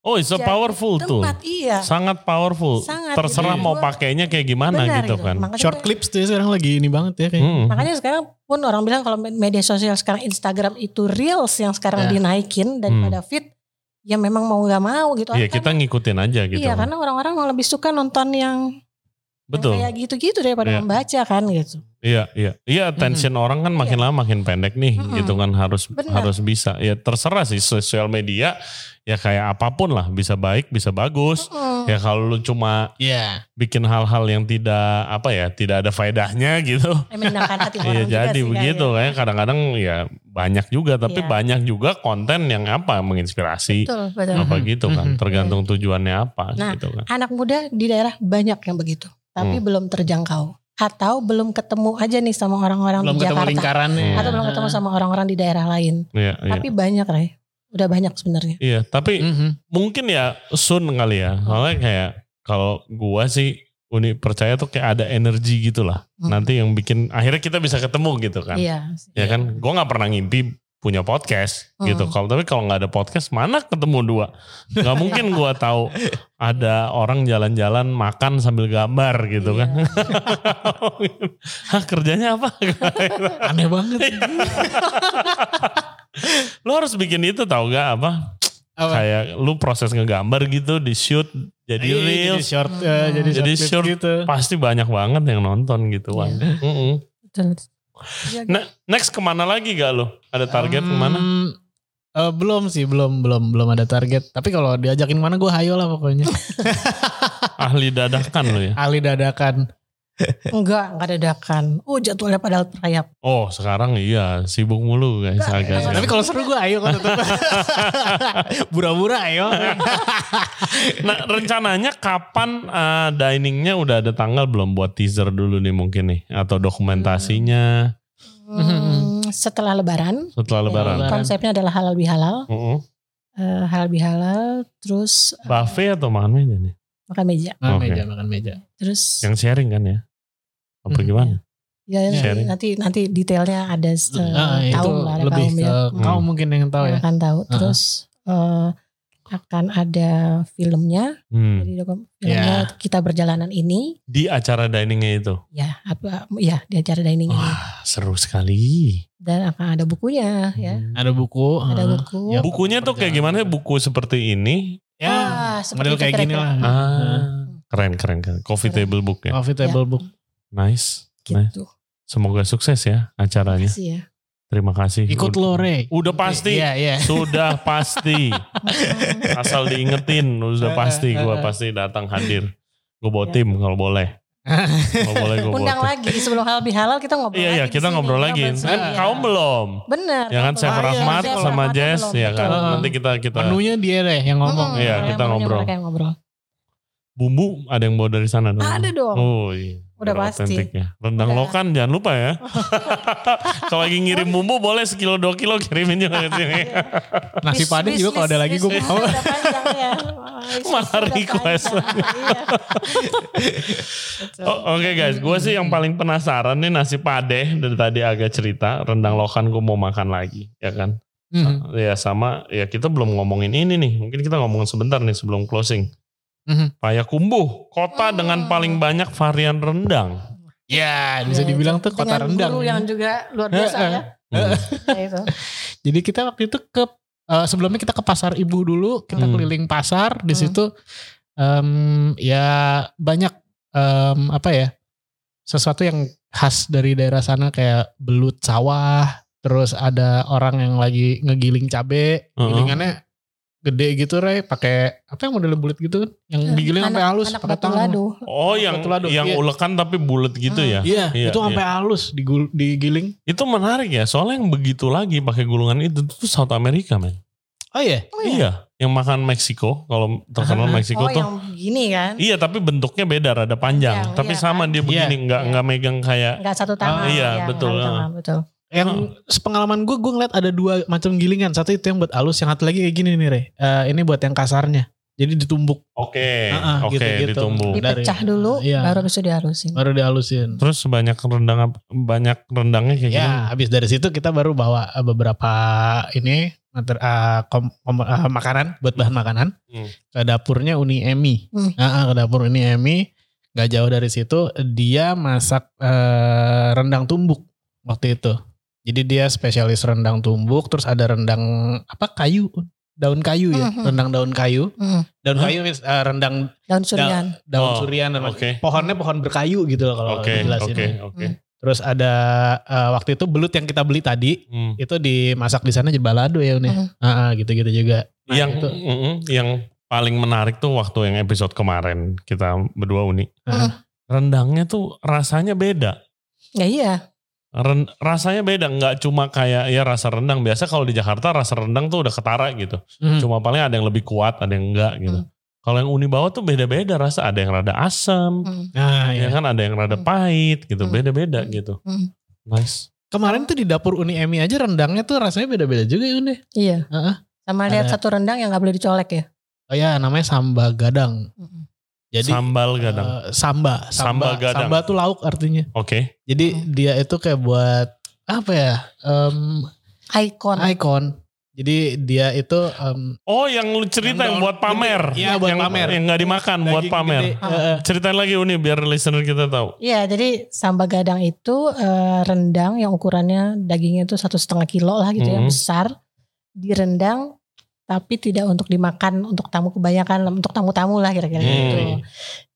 S3: oh, it's a
S2: jadi
S3: powerful tuh.
S2: tempat iya.
S3: Sangat powerful.
S2: Sangat,
S3: Terserah
S1: gitu.
S3: mau
S2: Gua-
S3: pakainya kayak gimana
S2: Benar
S3: gitu kan.
S2: Makanya,
S1: Short clips tuh ya sekarang lagi ini banget ya kayak.
S3: Hmm.
S2: makanya sekarang pun orang bilang kalau media sosial sekarang Instagram itu reels yang sekarang
S1: Ya.
S2: dinaikin daripada feed ya memang mau nggak mau gitu.
S3: Hmm. Iya,
S2: Karena-
S3: kita ngikutin aja gitu.
S2: Iya, karena orang-orang malah lebih suka nonton yang, yang
S3: Betul.
S2: kayak gitu-gitu daripada
S3: Iya.
S2: membaca kan gitu.
S3: Iya, iya. Iya, attention orang kan makin lama makin pendek nih,
S2: Iya. Mm-mm.
S3: gitu kan harus
S2: Benar.
S3: harus bisa. Ya terserah sih sosial media ya kayak apapun lah, bisa baik, bisa bagus.
S2: Mm-mm.
S3: Ya kalau lu cuma
S1: Iya.
S3: bikin hal-hal yang tidak apa ya, tidak ada faedahnya gitu.
S2: Eh, Menyenangkan hati orang
S3: Iya,
S2: juga sih,
S3: jadi
S2: Kak,
S3: begitu
S2: ya.
S3: Kayaknya kadang-kadang ya banyak juga tapi
S2: Iya.
S3: banyak juga konten yang apa menginspirasi
S2: Betul, betul.
S3: apa
S1: Mhm,
S3: gitu kan,
S1: mhm.
S3: tergantung tujuannya apa
S2: Iya. Nah,
S3: gitu kan.
S2: anak muda di daerah banyak yang begitu, tapi
S3: Hmm.
S2: belum terjangkau atau belum ketemu aja nih sama orang-orang
S1: Belum
S2: di
S1: ketemu
S2: Jakarta
S1: lingkarannya.
S2: atau belum ketemu sama orang-orang di daerah lain.
S3: Iya, iya.
S2: Tapi banyak Ray, udah banyak sebenarnya.
S3: Iya, tapi
S2: Mm.
S1: Mhm.
S3: mungkin ya soon kali ya. Soalnya kayak kalau gua sih Uni percaya tuh kayak ada energi gitu lah.
S2: Hmm.
S3: Nanti yang bikin akhirnya kita bisa ketemu gitu kan.
S2: Iya.
S3: Ya kan? Gua nggak pernah ngimpi punya podcast
S2: Hmm.
S3: gitu. Kalau tapi kalau nggak ada podcast mana ketemu dua? nggak mungkin gua tahu ada orang jalan-jalan makan sambil gambar gitu kan.
S2: Iya.
S3: Hah, kerjanya apa?
S1: Aneh banget.
S3: Lo harus bikin itu tau gak apa?
S1: Apa?
S3: Kayak lu proses ngegambar gitu di shoot jadi
S1: Iya,
S3: reels
S1: Jadi short
S2: Hmm.
S1: eh, jadi,
S3: Jadi
S1: clips
S3: short-
S1: gitu.
S3: pasti banyak banget yang nonton gitu kan. Mm-mm.
S2: Betul. Iya,
S3: Nah, next kemana lagi gak lo? Ada target
S1: Hmm,
S3: kemana?
S1: eh, belum sih, belum belum belum ada target. Tapi kalau diajakin mana gue hayo lah pokoknya.
S3: Ahli dadakan lo ya?
S1: Ali dadakan.
S2: Enggak, enggak dadakan. Oh, jadwalnya padahal rayap.
S3: Oh sekarang iya sibuk mulu guys.
S2: Nggak,
S3: agak-
S2: nggak,
S1: Tapi kalau seru gue ayo kok tetep. Bura-bura ayo.
S3: Nah rencananya kapan eh, diningnya udah ada tanggal belum buat teaser dulu nih mungkin nih atau dokumentasinya
S2: Hmm, setelah lebaran,
S1: Iya,
S3: setelah lebaran.
S2: ya, konsepnya adalah halal bihalal,
S3: Mm-mm.
S2: Eh, halal bihalal, terus eh,
S3: Buffet atau makan meja nih?
S2: makan meja,
S1: Makan
S3: Oke.
S1: meja, makan meja.
S2: terus
S3: Yang sharing kan ya? Apa
S1: Hmm.
S3: gimana?
S2: ya,
S3: sharing.
S2: nanti nanti detailnya ada
S1: Ah,
S2: eh,
S1: itu
S2: kaum lah, ada
S1: lebih
S2: kaum
S1: ke
S2: ya.
S1: kau mungkin yang
S3: Ah,
S1: tahu ya.
S2: Yang akan tahu.
S1: Uh-uh.
S2: Terus eh, akan ada filmnya,
S3: Hmm. Ya.
S2: jadi dokum- filmnya kita berjalanan ini,
S3: Di acara diningnya itu
S2: ya apa, ya di acara dining ini.
S3: Wah, seru sekali. Hmm.
S2: dan akan ada bukunya, ya
S1: Ada buku.
S2: ada
S1: ah.
S2: buku.
S1: Ya,
S3: Bukunya tuh kayak gimana? Buku seperti ini
S1: Ya,
S2: Ah, seperti
S1: model kayak
S2: kira-kira.
S1: gini lah.
S3: Ah, keren keren keren. Coffee
S2: Keren.
S3: table book ya.
S1: Coffee table book.
S3: Nice. nice.
S2: gitu.
S3: Semoga sukses ya acaranya.
S2: Makasih ya.
S3: Terima kasih.
S1: Ikut
S3: Ud-
S1: lo, Re.
S3: Udah pasti.
S1: Iya, iya.
S3: Sudah pasti.
S2: Mm,
S3: Asal diingetin udah pasti gua pasti datang hadir. Gue bawa
S2: Ya.
S3: tim kalau boleh. Kalau boleh gue bawa
S2: Undang
S3: tim.
S2: lagi sebelum halal bihalal kita ngobrol
S3: Iya
S2: lagi
S3: iya
S2: di
S3: kita
S2: sini.
S3: ngobrol lagi.
S2: Ngobrol
S3: Kan
S2: sini, ya.
S3: kaum belum.
S2: Bener.
S3: Ya kan Chef
S1: Ah, iya,
S3: Rahmat
S1: Chef
S3: sama
S2: Rahmat
S3: Jess
S2: belum,
S3: ya kan.
S2: betul.
S3: Nanti kita kita
S1: Menunya dia Re yang ngomong.
S2: Mm,
S3: Iya,
S2: yang
S3: kita
S2: maunya
S3: ngobrol.
S2: mereka yang ngobrol.
S3: bumbu ada yang bawa dari sana dong.
S2: Ada dong.
S3: Oh iya.
S2: Udah
S3: Biar
S2: pasti.
S3: otentik ya.
S2: Udah.
S3: Rendang lokan jangan lupa ya. kalau lagi ngirim bumbu boleh sekilo dua kilo kirimin juga ke sini.
S2: Iya.
S1: Eh, Nasi
S2: Bis-
S1: padang
S2: bis-
S1: juga kalau ada
S2: bis-
S1: lagi
S2: bis-
S1: gue
S2: bis-
S1: mau.
S2: udah panjang ya. Bis- bis-
S3: Malah
S2: udah
S3: request.
S2: panjang. Iya. Betul.
S3: Oh, Oke guys, gue sih yang paling penasaran nih nasi padeh dari tadi agak cerita rendang lokan gue mau makan lagi, ya kan?
S1: Mhm,
S3: Ya sama, ya kita belum ngomongin ini nih. Mungkin kita ngomongin sebentar nih sebelum closing.
S1: mhm.
S3: Payakumbuh, kota
S2: Hmm.
S3: dengan paling banyak varian rendang.
S1: Ya bisa
S2: Ya,
S1: dibilang
S2: itu.
S1: tuh kota
S2: Dengan
S1: rendang.
S2: guru yang juga luar biasa
S1: Eh, eh.
S2: ya.
S3: Hmm.
S2: Ya itu.
S1: Jadi kita waktu itu ke eh, sebelumnya kita ke pasar ibu dulu, kita
S3: Hmm.
S1: keliling pasar di
S2: Hmm.
S1: situ em, ya banyak em, apa ya sesuatu yang khas dari daerah sana kayak belut sawah, terus ada orang yang lagi ngegiling cabe,
S3: Heeh.
S1: gilingannya gede gitu Ray, pakai apa yang model belut gitu kan, yang digiling sampai
S2: Eh,
S1: halus,
S2: anak
S1: pakai
S2: batu
S1: tangan.
S2: lado.
S3: Oh, yang
S1: Betul, aduh.
S3: yang
S1: Iya.
S3: ulekan tapi bulat gitu ya.
S1: Iya,
S3: Iya,
S1: itu
S3: iya.
S1: sampai halus digul- digiling.
S3: Itu menarik ya, soalnya yang begitu lagi pakai gulungan itu tuh South America, men.
S1: Oh iya,
S2: Oh, iya.
S3: Iya, yang makan Meksiko, kalau terkenal
S1: Ah.
S3: Meksiko
S2: Oh,
S3: tuh.
S2: yang gini kan.
S3: Iya, tapi bentuknya beda, rada panjang.
S2: Panjang,
S3: tapi
S2: iya
S3: sama
S2: kan?
S3: dia begini,
S2: Iya.
S3: nggak
S2: Iya.
S3: nggak megang kayak.
S2: Enggak satu tangan. ya,
S3: iya,
S2: nggak
S3: betul, ah.
S2: satu tangan, betul.
S1: Oh, Yang sepengalaman gue, gue ngeliat ada dua macam gilingan. Satu itu yang buat halus, yang satu lagi kayak gini nih, Re. Eh, ini buat yang kasarnya. Jadi ditumbuk,
S3: Oke,
S1: Heeh,
S3: oke,
S1: Ah, gitu-gitu.
S3: ditumbuh.
S1: Dari-
S2: Dipecah dulu
S1: Iya. Oh.
S2: baru bisa dihalusin.
S1: baru dihalusin.
S3: Terus banyak rendang apa- banyak rendangnya kayak gini.
S1: Ya, habis dari situ kita baru bawa eh, beberapa ini mater, eh, kom- kom- eh, makanan buat bahan makanan
S3: Hmm.
S1: ke dapurnya Uni Emi.
S2: Hmm.
S1: Ah, ah, ke dapur Uni Emi. Gak jauh dari situ dia masak eh, rendang tumbuk waktu itu. Jadi dia spesialis rendang tumbuk, terus ada rendang apa kayu, daun kayu ya,
S2: Mhm.
S1: rendang daun kayu,
S2: Hmm.
S1: daun
S3: Hah?
S1: kayu means, eh, rendang
S2: Daun surian.
S1: daun
S3: Oh,
S1: surian dan
S3: oke.
S1: pohonnya pohon berkayu gitu loh kalau
S3: Oke,
S1: dijelasin.
S3: oke, oke.
S1: Terus ada eh, waktu itu belut yang kita beli tadi
S3: Hmm.
S1: itu dimasak di sana jebalado ya Uni.
S2: Mhm.
S1: Ah, ah, gitu-gitu juga. Nah,
S3: yang
S1: itu.
S3: mm-mm, yang paling menarik tuh waktu yang episode kemarin kita berdua uni.
S2: Mm.
S3: Rendangnya tuh rasanya beda.
S2: Ya iya.
S3: Ren- rasanya beda nggak cuma kayak ya rasa rendang biasa kalau di Jakarta rasa rendang tuh udah ketara gitu.
S1: Mhm.
S3: Cuma paling ada yang lebih kuat, ada yang enggak gitu.
S1: Hmm.
S3: Kalau yang uni bawa tuh beda-beda rasa, ada yang rada asam,
S2: Hmm.
S1: Nah,
S3: ya
S1: iya.
S3: kan ada yang rada
S2: Hmm.
S3: pahit gitu,
S2: Hmm.
S3: beda-beda
S2: Hmm.
S3: gitu.
S2: Hmm.
S3: Nice.
S1: Kemarin tuh di dapur Uni Emi aja rendangnya tuh rasanya beda-beda juga ya Uni.
S2: Iya.
S1: Heeh.
S2: Sama lihat
S1: Ada-
S2: satu rendang yang nggak boleh dicolek ya.
S1: Oh ya namanya samba gadang.
S2: Hmm.
S1: Jadi
S3: Sambal
S1: eh,
S3: gadang.
S1: samba,
S3: Samba
S1: samba,
S3: gadang.
S1: Samba tuh lauk artinya.
S3: Oke.
S1: Jadi
S2: Hmm.
S1: dia itu kayak buat apa ya? em,
S2: Icon.
S1: icon. Jadi dia itu em,
S3: Oh, yang lu cerita yang,
S1: Yang
S3: buat
S1: daun-
S3: pamer.
S1: Iya, buat
S3: yang,
S1: pamer.
S3: Yang nggak dimakan buat
S1: daging
S3: pamer.
S1: gede. Eh, Heeh.
S3: Ceritain lagi Uni biar listener kita tahu.
S2: Iya, jadi samba gadang itu eh, rendang yang ukurannya dagingnya itu satu setengah kilo lah gitu ya
S3: Mhm.
S2: besar direndang tapi tidak untuk dimakan untuk tamu kebanyakan untuk tamu-tamu lah
S1: Iya,
S2: kira-kira
S3: Hmm.
S2: gitu.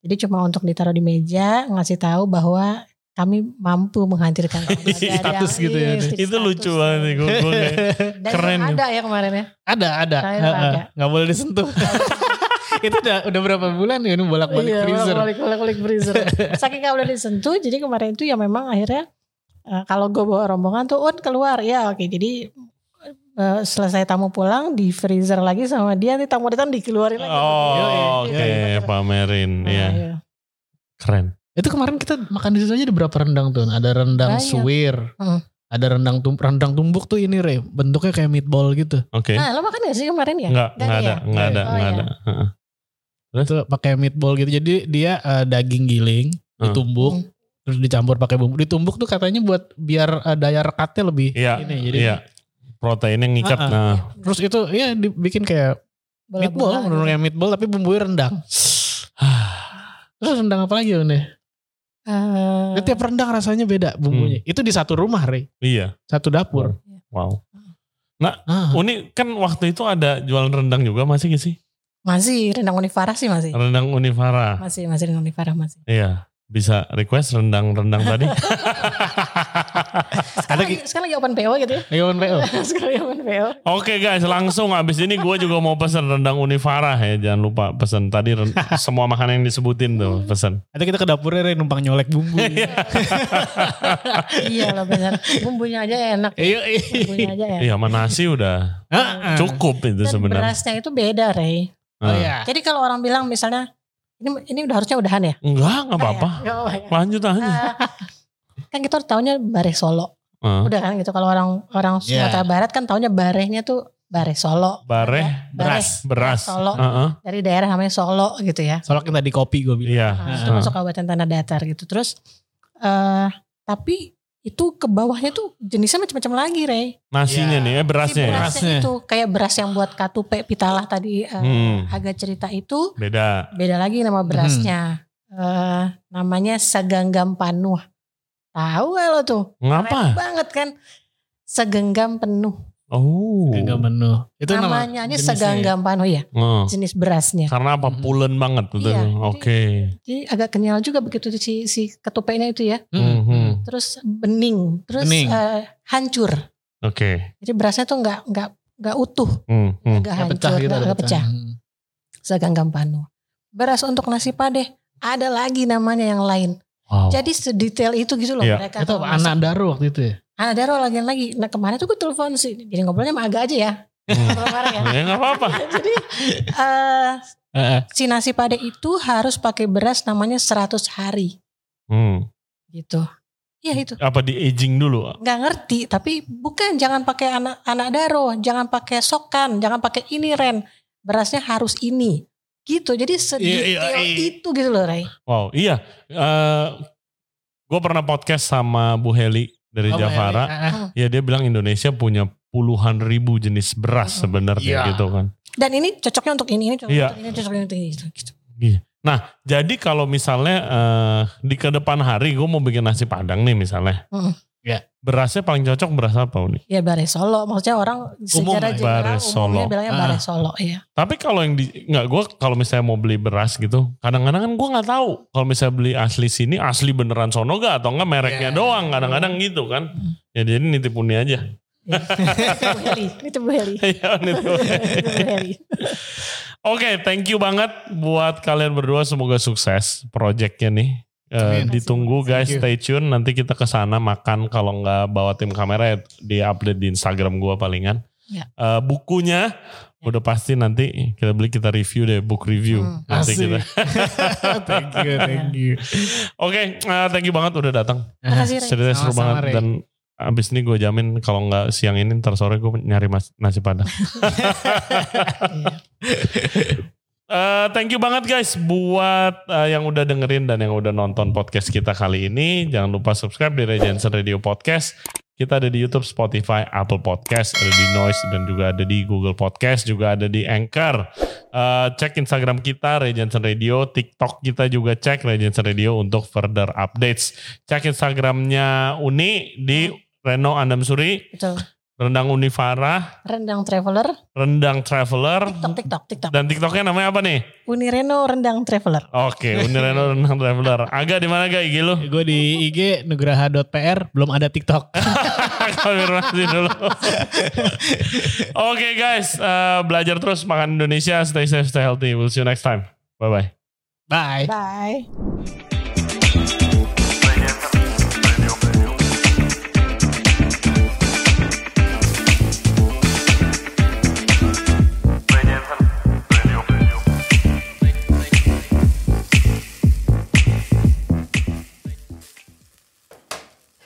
S2: Jadi cuma untuk ditaruh di meja ngasih tahu bahwa kami mampu menghadirkan tamu. Ada- ada
S1: Status
S2: yang-
S1: gitu ya,
S2: iya,
S1: Dek.
S2: stick
S3: Itu lucu
S2: status.
S3: banget nih, gue. gue kayak-
S2: Dan
S3: Keren.
S2: Ada ya kemarin ya.
S1: ada ada.
S2: Kayak
S1: Heeh.
S2: ada.
S1: Nggak boleh disentuh. itu udah, udah berapa bulan ya Uni bolak-balik
S2: Iya,
S1: freezer.
S2: bolak-balik bolak-balik freezer. Saking gak boleh disentuh, jadi kemarin itu ya memang akhirnya eh, kalau gue bawa rombongan tuh on keluar ya oke jadi eh, selesai tamu pulang di freezer lagi sama dia nanti tamu datang dikeluarin lagi.
S3: Oh, oke,
S2: Iya, iya, iya.
S3: pamerin.
S2: Nah,
S1: Hmm.
S3: Iya,
S2: iya.
S3: keren.
S1: Itu kemarin kita makan di situ aja ada berapa rendang tuh? Ada rendang
S2: Banyak.
S1: suwir.
S2: Heeh.
S1: Ada rendang tum rendang tumbuk tuh ini Re, bentuknya kayak meatball gitu.
S3: Oke.
S2: Nah, lo makan gak sih kemarin ya?
S3: Enggak,
S2: Nggak
S3: enggak ada,
S2: ada
S3: enggak ada,
S2: Oh,
S3: enggak
S2: iya.
S3: ada. Heeh.
S1: Itu pakai meatball gitu. Jadi dia eh, daging giling
S3: Hmm.
S1: ditumbuk
S2: Hmm.
S1: terus dicampur pakai bumbu. Ditumbuk tuh katanya buat biar eh, daya rekatnya lebih
S3: Iya.
S1: ini. Jadi
S3: Iya. Proteinnya ngikat.
S1: Ah, ah.
S3: Nah,
S1: terus itu ya dibikin kayak meatball,
S2: Bola-bola. gitu.
S1: menurut kayak meatball tapi bumbunya rendang. Terus rendang apa lagi Bunda?
S2: Eh,
S1: Ya, tiap rendang rasanya beda bumbunya.
S3: Hmm.
S1: Itu di satu rumah, Re.
S3: iya.
S1: Satu dapur.
S3: Wow.
S1: Ah.
S3: Uni kan waktu itu ada jualan rendang juga masih gak sih?
S2: masih rendang Unifara sih masih.
S3: Rendang Univara.
S2: Masih masih rendang Unifara masih.
S3: Iya, bisa request rendang-rendang tadi.
S1: Ada
S2: Sekarang, lagi- sekarang lagi open PO gitu ya.
S1: Ah, Ayo oh. Bun PO.
S2: sekarang lagi open PO.
S3: Oke guys, langsung abis ini gue juga mau pesen rendang Univara ya. Jangan lupa pesen tadi ren- semua makanan yang disebutin tuh
S2: Hmm.
S3: pesen.
S1: Atau kita ke dapurnya Re numpang nyolek bumbu.
S2: iya lah benar. Bumbunya aja enak.
S1: Iya,
S2: Bumbunya aja enak.
S3: Iya, sama nasi udah
S1: Ah, ah.
S3: cukup
S2: Ya. Hmm. Dan
S3: itu Iya,
S2: iya.
S3: sebenarnya.
S2: berasnya itu beda Rey.
S1: Oh
S3: Ah.
S1: ya.
S2: Jadi kalau orang bilang misalnya Ini ini udah harusnya udahan ya?
S3: Nah, Enggak, enggak apa-apa.
S2: Ah, ya? Nggak apa-apa ya?
S3: Lanjut aja.
S2: Ah, kan kita tahunya Bare Solo.
S3: Ah.
S2: Udah kan gitu kalau orang orang
S3: Iya.
S1: Yeah.
S2: Sumatera Barat kan tahunya barehnya tuh Bare Solo.
S3: Bareh,
S2: Beras.
S3: beras.
S2: Solo.
S3: Heeh.
S2: Dari daerah namanya Solo gitu ya.
S1: Soalnya kita di kopi gue bilang.
S3: Iya.
S2: Nah, itu
S3: Heeh.
S2: masuk kabupaten tanah datar gitu. Terus eh tapi itu ke bawahnya tuh jenisnya macam-macam lagi, Rey.
S3: Nasinya
S1: Iya.
S3: nih, eh
S2: Si
S3: berasnya ya.
S1: Beras.
S2: berasnya
S1: Berasnya.
S2: itu kayak beras yang buat katupe pitalah tadi eh,
S3: Hmm,
S2: agak cerita itu
S3: beda.
S2: beda lagi nama
S1: Hmm.
S2: berasnya. Eh, namanya segenggam panuh. Tahu gak lo tuh? Keren
S3: Ngapa?
S2: banget kan. Segenggam penuh.
S3: Oh.
S1: Enggak penuh. Itu nama
S2: Namanya aja
S1: jenisnya ya? Oh.
S2: segenggam panuh ya.
S3: Heeh.
S2: Jenis berasnya.
S3: Karena apa
S1: Mhm.
S3: pulen banget betul.
S2: Iya.
S3: Oke.
S2: Jadi agak kenyal juga begitu tuh si, si ketupenya itu ya.
S1: ya? Mm,
S3: Mhm.
S1: mm.
S2: Terus bening. Terus
S1: Bening.
S2: eh, hancur.
S3: Oke.
S2: Jadi berasnya tuh nggak nggak nggak utuh,
S3: Hmm, hmm.
S2: nggak
S1: Ya,
S2: hancur,
S1: pecah gitu. ada
S2: nggak pecah.
S1: Mm.
S2: Segenggam panuh. Beras untuk nasi padeh ada lagi namanya yang lain.
S3: Wow.
S2: Jadi sedetail itu gitu loh
S3: Iya.
S2: mereka.
S1: Oh. Itu
S2: kalau
S1: apa?
S2: masak.
S1: Anak Daru waktu itu ya?
S2: Ah, ada roh lagi lagi. Nah kemarin tuh gue telepon sih. Jadi ngobrolnya sama agak aja ya.
S3: Hmm.
S2: Kemarin ya.
S3: ya nggak apa-apa.
S2: Jadi eh
S1: Heeh.
S2: si nasi padeh itu harus pakai beras namanya 100 hari
S3: Hmm.
S2: gitu. Iya itu.
S3: Apa di aging dulu?
S2: Nggak ngerti tapi bukan jangan pakai anak anak daro, jangan pakai sokan, jangan pakai ini Ren. Berasnya harus ini. Gitu. Jadi sedetail
S3: Iya, iya, iya.
S2: itu gitu loh Ray.
S3: Wow, iya. Eh gue pernah podcast sama Bu Heli dari
S1: Oh,
S3: Javara.
S1: Heeh.
S3: Ya dia bilang Indonesia punya puluhan ribu jenis beras
S2: Mhm.
S3: sebenarnya
S1: Iya.
S3: gitu kan.
S2: Dan ini cocoknya untuk ini, ini cocoknya
S3: Iya.
S2: untuk ini, cocoknya untuk ini gitu. gitu.
S3: Jadi kalau misalnya eh di ke depan hari gue mau bikin nasi padang nih misalnya.
S2: Mhm.
S1: Iya.
S3: Berasnya paling cocok beras apa nih?
S2: Ya bare solo, maksudnya orang secara
S1: lah,
S2: general
S3: bare
S2: umumnya
S3: solo. Ah.
S2: bilangnya bare solo ya.
S3: Tapi kalau yang di nggak gue kalau misalnya mau beli beras gitu, kadang-kadang kan gue nggak tahu kalau misalnya beli asli sini asli beneran sono gak atau enggak mereknya
S1: Iya.
S3: doang kadang-kadang gitu kan.
S2: Mhm.
S3: Ya jadi nitip uni aja.
S2: itu Bu Heli, itu Bu Heli.
S3: Iya nitip uni.
S2: Itu Bu Heli.
S3: Oke, thank you banget buat kalian berdua. Semoga sukses projectnya nih. Eh,
S1: Amin.
S3: ditunggu guys,
S1: Thank
S3: stay
S1: you.
S3: tune. Nanti kita ke sana makan. Kalau nggak bawa tim kamera, ya di update di Instagram gua palingan.
S2: Ya.
S3: Eh, bukunya udah pasti nanti kita beli kita review deh, book review.
S2: Hmm.
S3: Nanti
S1: Asik.
S3: kita.
S1: thank you, thank you.
S3: Oke, eh, thank you banget udah datang.
S2: Makasih Ren.
S3: Ceritanya seru
S1: Sama-sama,
S3: banget
S1: Ray.
S3: dan abis ini gue jamin kalau nggak siang ini ntar sore gue nyari mas- nasi padang.
S2: Iya.
S3: Eh, thank you banget guys buat eh, yang udah dengerin dan yang udah nonton podcast kita kali ini. Jangan lupa subscribe di Regensen Radio Podcast. Kita ada di YouTube, Spotify, Apple Podcast, ada di Noise dan juga ada di Google Podcast, juga ada di Anchor. Eh, cek Instagram kita Regensen Radio, TikTok kita juga cek Regensen Radio untuk further updates. Cek Instagramnya Uni di Reno Andamsuri,
S2: Betul.
S3: Rendang Unifara,
S2: Rendang traveler,
S3: Rendang Traveler,
S2: TikTok, TikTok, TikTok.
S3: dan TikToknya namanya apa nih?
S2: Unireno rendang traveler.
S3: Oke, Unireno Renang Traveler. Agak di mana gak IG lu?
S2: Iya.
S1: Gue di IG nugraha.pr belum ada TikTok.
S3: Konfirmasi dulu. Oke guys, eh, belajar terus makan Indonesia, stay safe, stay healthy. We'll see you next time. Bye bye.
S1: Bye.
S2: Bye.